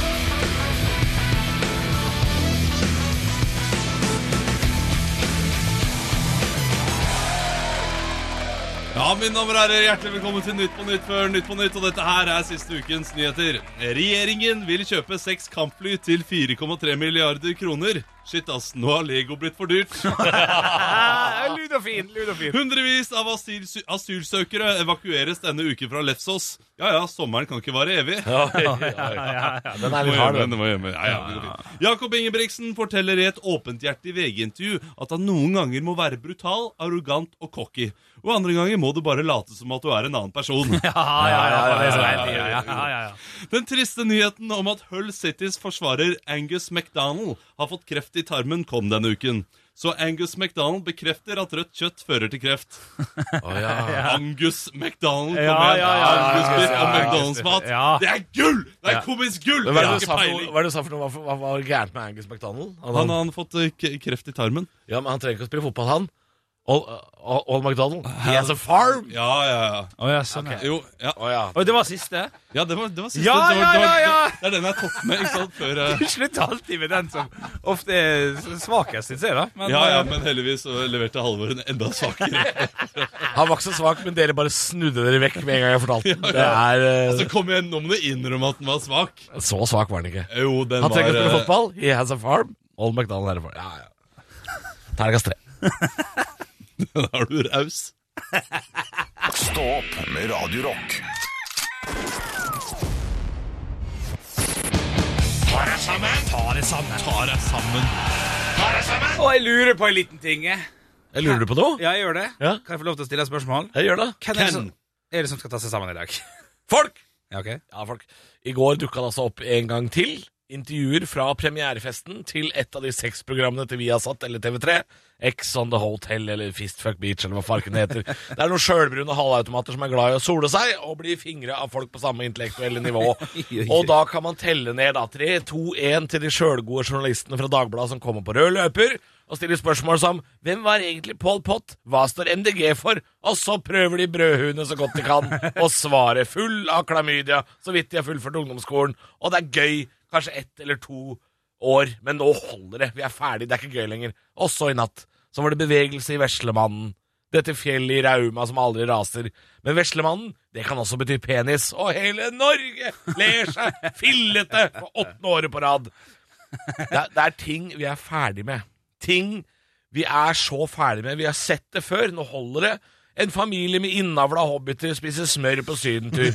Speaker 5: Ja, mine damer og herrer, hjertelig velkommen til Nytt på Nytt før Nytt på Nytt. Og dette her er siste ukens nyheter. Regjeringen vil kjøpe seks kampfly til 4,3 milliarder kroner. Shit, ass. Nå har Lego blitt for
Speaker 3: (laughs)
Speaker 5: dyrt.
Speaker 4: Lud og fin, lud og fin.
Speaker 5: Hundrevis av asyls asylsøkere evakueres denne uken fra Lefsos. Ja ja, sommeren kan ikke vare evig.
Speaker 3: (laughs) Ja, ja,
Speaker 5: (laughs)
Speaker 3: ja, ja. Den er litt hard, den.
Speaker 5: Den var hjemme. Ja, ja, det går fint. Jakob Ingebrigtsen forteller i et åpenhjertig VG-intervju at han noen ganger må være brutal, arrogant og cocky. Og andre ganger må du bare late som at du er en annen
Speaker 3: (laughs)
Speaker 5: person. Den triste nyheten om at Hull Citys forsvarer Angus MacDonald har fått kreft i tarmen, kom denne uken. Så Angus MacDonald bekrefter at rødt kjøtt fører til kreft.
Speaker 3: Å, (laughs) ja.
Speaker 5: Angus MacDonald, kom
Speaker 4: Ja,
Speaker 5: igjen!
Speaker 4: ja, ja, ja,
Speaker 5: Angus
Speaker 4: ja,
Speaker 5: biff og
Speaker 4: ja, ja.
Speaker 5: McDonald's-mat.
Speaker 4: Ja.
Speaker 5: Det er gull! Det er komisk gull!
Speaker 3: Men Hva
Speaker 5: Jeg
Speaker 3: er
Speaker 5: har
Speaker 3: det du sa
Speaker 5: ikke
Speaker 3: for
Speaker 5: peiling.
Speaker 3: noe? Hva er det du sa for noe? Hva- Hva var gærent med Angus McDonald? Han,
Speaker 5: Han har fått eh, k- kreft i tarmen.
Speaker 3: ja, men han trenger ikke å spille fotball, han. Old, uh, old McDonald. He has a farm!
Speaker 5: Ja, ja, ja.
Speaker 4: Å ja, sånn. ja.
Speaker 5: Jo, ja.
Speaker 3: Å ja.
Speaker 4: Oi, det var siste?
Speaker 5: ja det var, det var siste.
Speaker 4: Ja,
Speaker 5: det, var, det,
Speaker 4: ja,
Speaker 5: var,
Speaker 4: ja, ja.
Speaker 5: det er den jeg har tatt med, ikke sant? Før
Speaker 4: (laughs)
Speaker 5: eh,
Speaker 4: Du slutter alltid med den som ofte er svakest, syns jeg, da. Men, eh,
Speaker 5: Ja, ja, men heldigvis så leverte Halvor en enda
Speaker 4: (laughs)
Speaker 5: svakere.
Speaker 3: Han var ikke så svak, men dere bare snudde dere vekk med en gang jeg fortalte den. Det
Speaker 5: ja.
Speaker 3: er eh,
Speaker 5: Så kom igjen, nå må du innrømme at den var svak.
Speaker 3: Så svak var han ikke.
Speaker 5: Jo, den
Speaker 3: Han trenger
Speaker 5: var
Speaker 3: å spille
Speaker 5: eh,
Speaker 3: fotball. He has a farm. Old McDonald er det for. Ja, ja. Terningkast tre.
Speaker 5: Den (laughs) er du raus.
Speaker 1: Stå opp med Radio Rock.
Speaker 5: Ta deg sammen.
Speaker 4: Og jeg lurer på en liten ting. jeg.
Speaker 3: Jeg lurer du på noe?
Speaker 4: Ja, jeg gjør det.
Speaker 3: Ja.
Speaker 4: Kan jeg få lov til å stille et spørsmål?
Speaker 3: Jeg gjør det.
Speaker 4: Hvem er det, som,
Speaker 5: Ken.
Speaker 4: er det som skal ta seg sammen i dag? (laughs)
Speaker 3: Folk!
Speaker 4: Ja, ok.
Speaker 3: Ja, folk. I går dukka det altså opp en gang til. intervjuer fra premierefesten til et av de seks programmene til Viasat eller TV3. X on the Hotel eller Fistfuck Beach eller hva farken det heter. Det er noen sjølbrune halvautomater som er glad i å sole seg og bli fingra av folk på samme intellektuelle nivå. Og da kan man telle ned da tre, to, én til de sjølgode journalistene fra Dagbladet som kommer på rød løper. Og stiller spørsmål som 'Hvem var egentlig Pol Pott? Hva står MDG for?' Og så prøver de brødhuene så godt de kan, og svaret full av klamydia, så vidt de har fullført ungdomsskolen. Og det er gøy kanskje ett eller to år, men nå holder det. Vi er ferdig, det er ikke gøy lenger. Og så i natt så var det bevegelse i Veslemannen. Dette fjellet i Rauma som aldri raser. Men Veslemannen, det kan også bety penis. Og hele Norge ler seg fillete for åttende året på rad. Det er, det er ting vi er ferdig med. Ting vi er så ferdig med. Vi har sett det før, nå holder det. En familie med innavla hobbiter spiser smør på sydentur.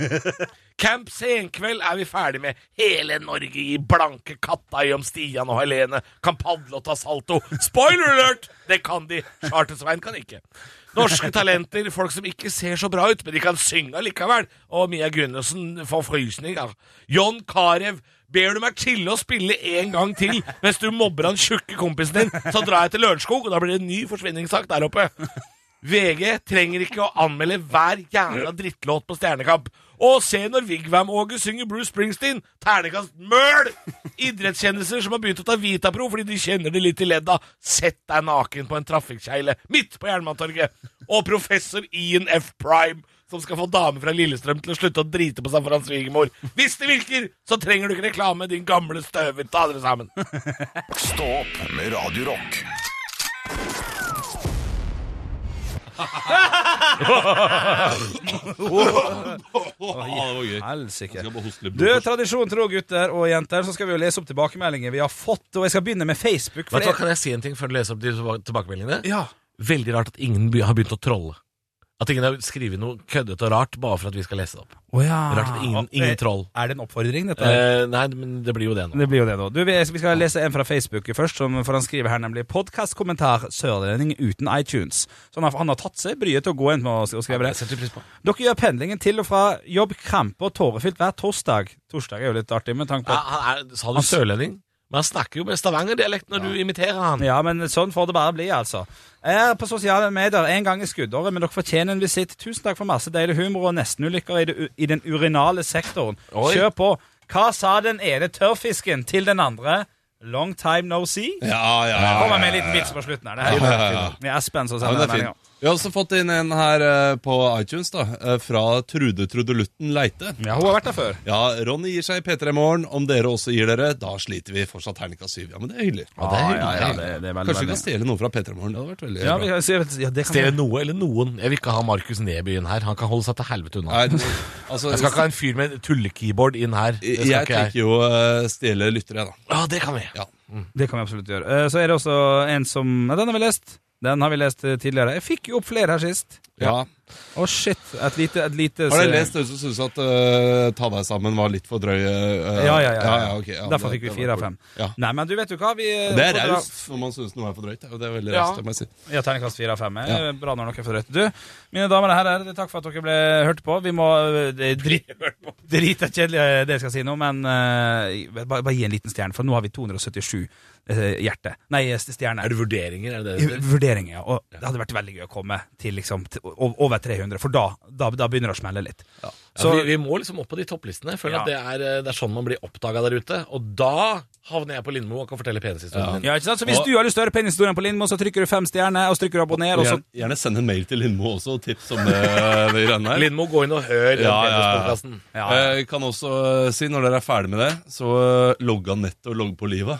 Speaker 3: Camp Senkveld er vi ferdig med. Hele Norge i blanke kattøy om Stian og Helene kan padle og ta salto. Spoiler alert! Det kan de. Charter-Svein kan ikke. Norske talenter, folk som ikke ser så bra ut, men de kan synge allikevel. Og Mia Gunnarsen får frysninger. John Carew, ber du meg chille og spille en gang til mens du mobber han tjukke kompisen din, så drar jeg til Lørenskog, og da blir det en ny forsvinningssak der oppe. VG trenger ikke å anmelde hver jævla drittlåt på Stjernekamp. Og se når Vigvam-Åge synger Bruce Springsteen! Ternekast møl! Idrettskjendiser som har begynt å ta Vitapro fordi de kjenner det litt i ledda. Sett deg naken på en trafikkegle midt på Jernbanetorget! Og professor Ian F. Prime, som skal få damer fra Lillestrøm til å slutte å drite på seg foran svigermor. Hvis det virker, så trenger du ikke reklame, din gamle støver. Ta dere sammen.
Speaker 1: Stå opp med Radio Rock.
Speaker 5: Å, det var gøy.
Speaker 4: Helsike.
Speaker 5: Jeg skal bare hoste litt
Speaker 4: Du,
Speaker 5: blod først.
Speaker 4: tradisjon tro, gutter og jenter, så skal vi jo lese opp tilbakemeldinger vi har fått. Og jeg skal begynne med Facebook. for
Speaker 3: Vet du hva,
Speaker 4: det-
Speaker 3: Kan jeg si en ting før du leser opp de tilba- tilbakemeldingene?
Speaker 4: Ja.
Speaker 3: Veldig rart at ingen be- har begynt å trolle. At ingen har skrevet noe køddete og rart bare for at vi skal lese det opp.
Speaker 4: Å ja.
Speaker 3: Rart at ingen,
Speaker 4: Og-
Speaker 3: ingen troll.
Speaker 4: Er det en oppfordring, dette? her?
Speaker 3: Eh, nei, men det blir jo det nå.
Speaker 4: Det blir jo det, da. Du, vi vi skal lese en fra Facebook først, som for han skriver her nemlig 'Podkastkommentar sørlending uten iTunes'. Så han har, han har tatt seg bryet til å gå inn med å skrive det.
Speaker 3: setter pris på.
Speaker 4: Dere gjør pendlingen til og fra jobb krampe og tårefylt hver torsdag. Torsdag er jo litt artig med tanke på
Speaker 3: Ja,
Speaker 4: at
Speaker 3: han er, sa du sørlending? Men han snakker jo med stavangerdialekt når du imiterer han.
Speaker 4: Ja, men sånn får det bare bli, altså. Jeg er på sosiale medier en gang i skuddåret, men dere fortjener en visitt. Tusen takk for masse deilig humor og nestenulykker i, det u- i den urinale sektoren.
Speaker 3: Oi.
Speaker 4: Kjør på. Hva sa den ene tørrfisken til den andre? Long time no see?
Speaker 5: Ja, ja, ja,
Speaker 4: Kommer
Speaker 5: ja,
Speaker 4: med en
Speaker 5: ja,
Speaker 4: liten
Speaker 5: ja.
Speaker 4: vits på slutten her. Det her er
Speaker 5: Ja, ja, ja.
Speaker 4: jo- Det er Espen som
Speaker 5: Ja,
Speaker 4: sender
Speaker 5: men det
Speaker 4: den
Speaker 5: er
Speaker 4: meldinga.
Speaker 5: fint. Vi har også fått inn en her eh, på iTunes, da, eh, fra Trude Trudelutten Leite.
Speaker 4: Ja, hun har vært der før.
Speaker 5: Ja, Ronny gir seg i P3 Morgen. Om dere også gir dere, da sliter vi fortsatt terningkast syv. Ja, men det er hyggelig.
Speaker 4: Ja, det er hyggelig. Ja, ja, ja, det- det er veldig,
Speaker 5: Kanskje vi
Speaker 4: veldig.
Speaker 5: kan stjele noe fra P3 Morgen. Det hadde vært veldig
Speaker 4: Ja,
Speaker 5: bra.
Speaker 4: vi, kan si- ja, det kan
Speaker 3: Stjele noe eller noen. Jeg vil ikke ha Markus Nebyen her. Han kan holde seg til helvete unna.
Speaker 5: Nei, altså,
Speaker 3: Jeg skal ikke ha en fyr med en tullekeyboard inn her. Det
Speaker 5: jeg,
Speaker 3: skal ikke
Speaker 5: jeg
Speaker 3: jeg.
Speaker 5: tenker jo eh, stjele lyttere, da.
Speaker 3: Ja, det kan vi.
Speaker 5: Ja.
Speaker 4: Det kan vi absolutt gjøre. Eh, Så er det også en som ja, Den har vi lest. Den har vi lest eh, tidligere. Jeg fikk jo opp flere her sist.
Speaker 5: Ja.
Speaker 4: Å, shit. Et lite, et lite
Speaker 5: Har dere lest dere som syns at eh, Ta deg sammen var litt for drøy? eh,
Speaker 4: Ja, ja, ja.
Speaker 5: ok, ja,
Speaker 4: Derfor
Speaker 5: det-
Speaker 4: fikk vi
Speaker 5: det
Speaker 4: fire
Speaker 5: var
Speaker 4: av
Speaker 5: cool.
Speaker 4: fem.
Speaker 5: Ja.
Speaker 4: Nei, men du vet jo hva vi
Speaker 5: Det er raust når man syns noe er for drøyt. og Det er veldig
Speaker 3: Ja.
Speaker 5: raust. det må jeg si.
Speaker 4: Ja, terningkast fire av fem. er
Speaker 5: Ja.
Speaker 4: Bra når noe er for rødt. Du, mine damer og herrer, det er takk for at dere ble hørt på. Vi må eh, det er drit, (laughs) Drit er kjedelig eh, det jeg skal si nå, men eh, bare, bare gi en liten stjerne, for nå har vi 277 eh, hjerte. Nei, st-
Speaker 3: Er
Speaker 4: stjerner.
Speaker 3: det vurderinger? Er det det? det-
Speaker 4: Vurderinger, ja. Og det hadde vært veldig gøy å komme til liksom til o- over 300, for da, da, da begynner det å smelle litt.
Speaker 3: Så
Speaker 4: Så-
Speaker 3: vi, vi må liksom opp på de topplistene. Jeg føler
Speaker 4: Ja.
Speaker 3: at det er, eh, det er sånn man blir oppdaga der ute. Og da havner jeg på Lindmo og kan fortelle penishistorien min.
Speaker 4: Ja, ikke sant? Så hvis
Speaker 5: Og-
Speaker 4: du har lyst til å høre penishistorien på Lindmo, så trykker du fem stjerner, og så trykker du abonner,
Speaker 5: Og
Speaker 4: og så
Speaker 5: Gjerne, gjerne send en mail til Lindmo også, og tips om
Speaker 4: (laughs)
Speaker 5: eh, det greiene her.
Speaker 3: Lindmo, gå inn og hør den
Speaker 5: Ja, ja, ja.
Speaker 3: penispodcasten.
Speaker 4: Ja, ja.
Speaker 5: Jeg kan også eh, si, når dere er ferdig med det, så eh, logg av nettet og logg på livet.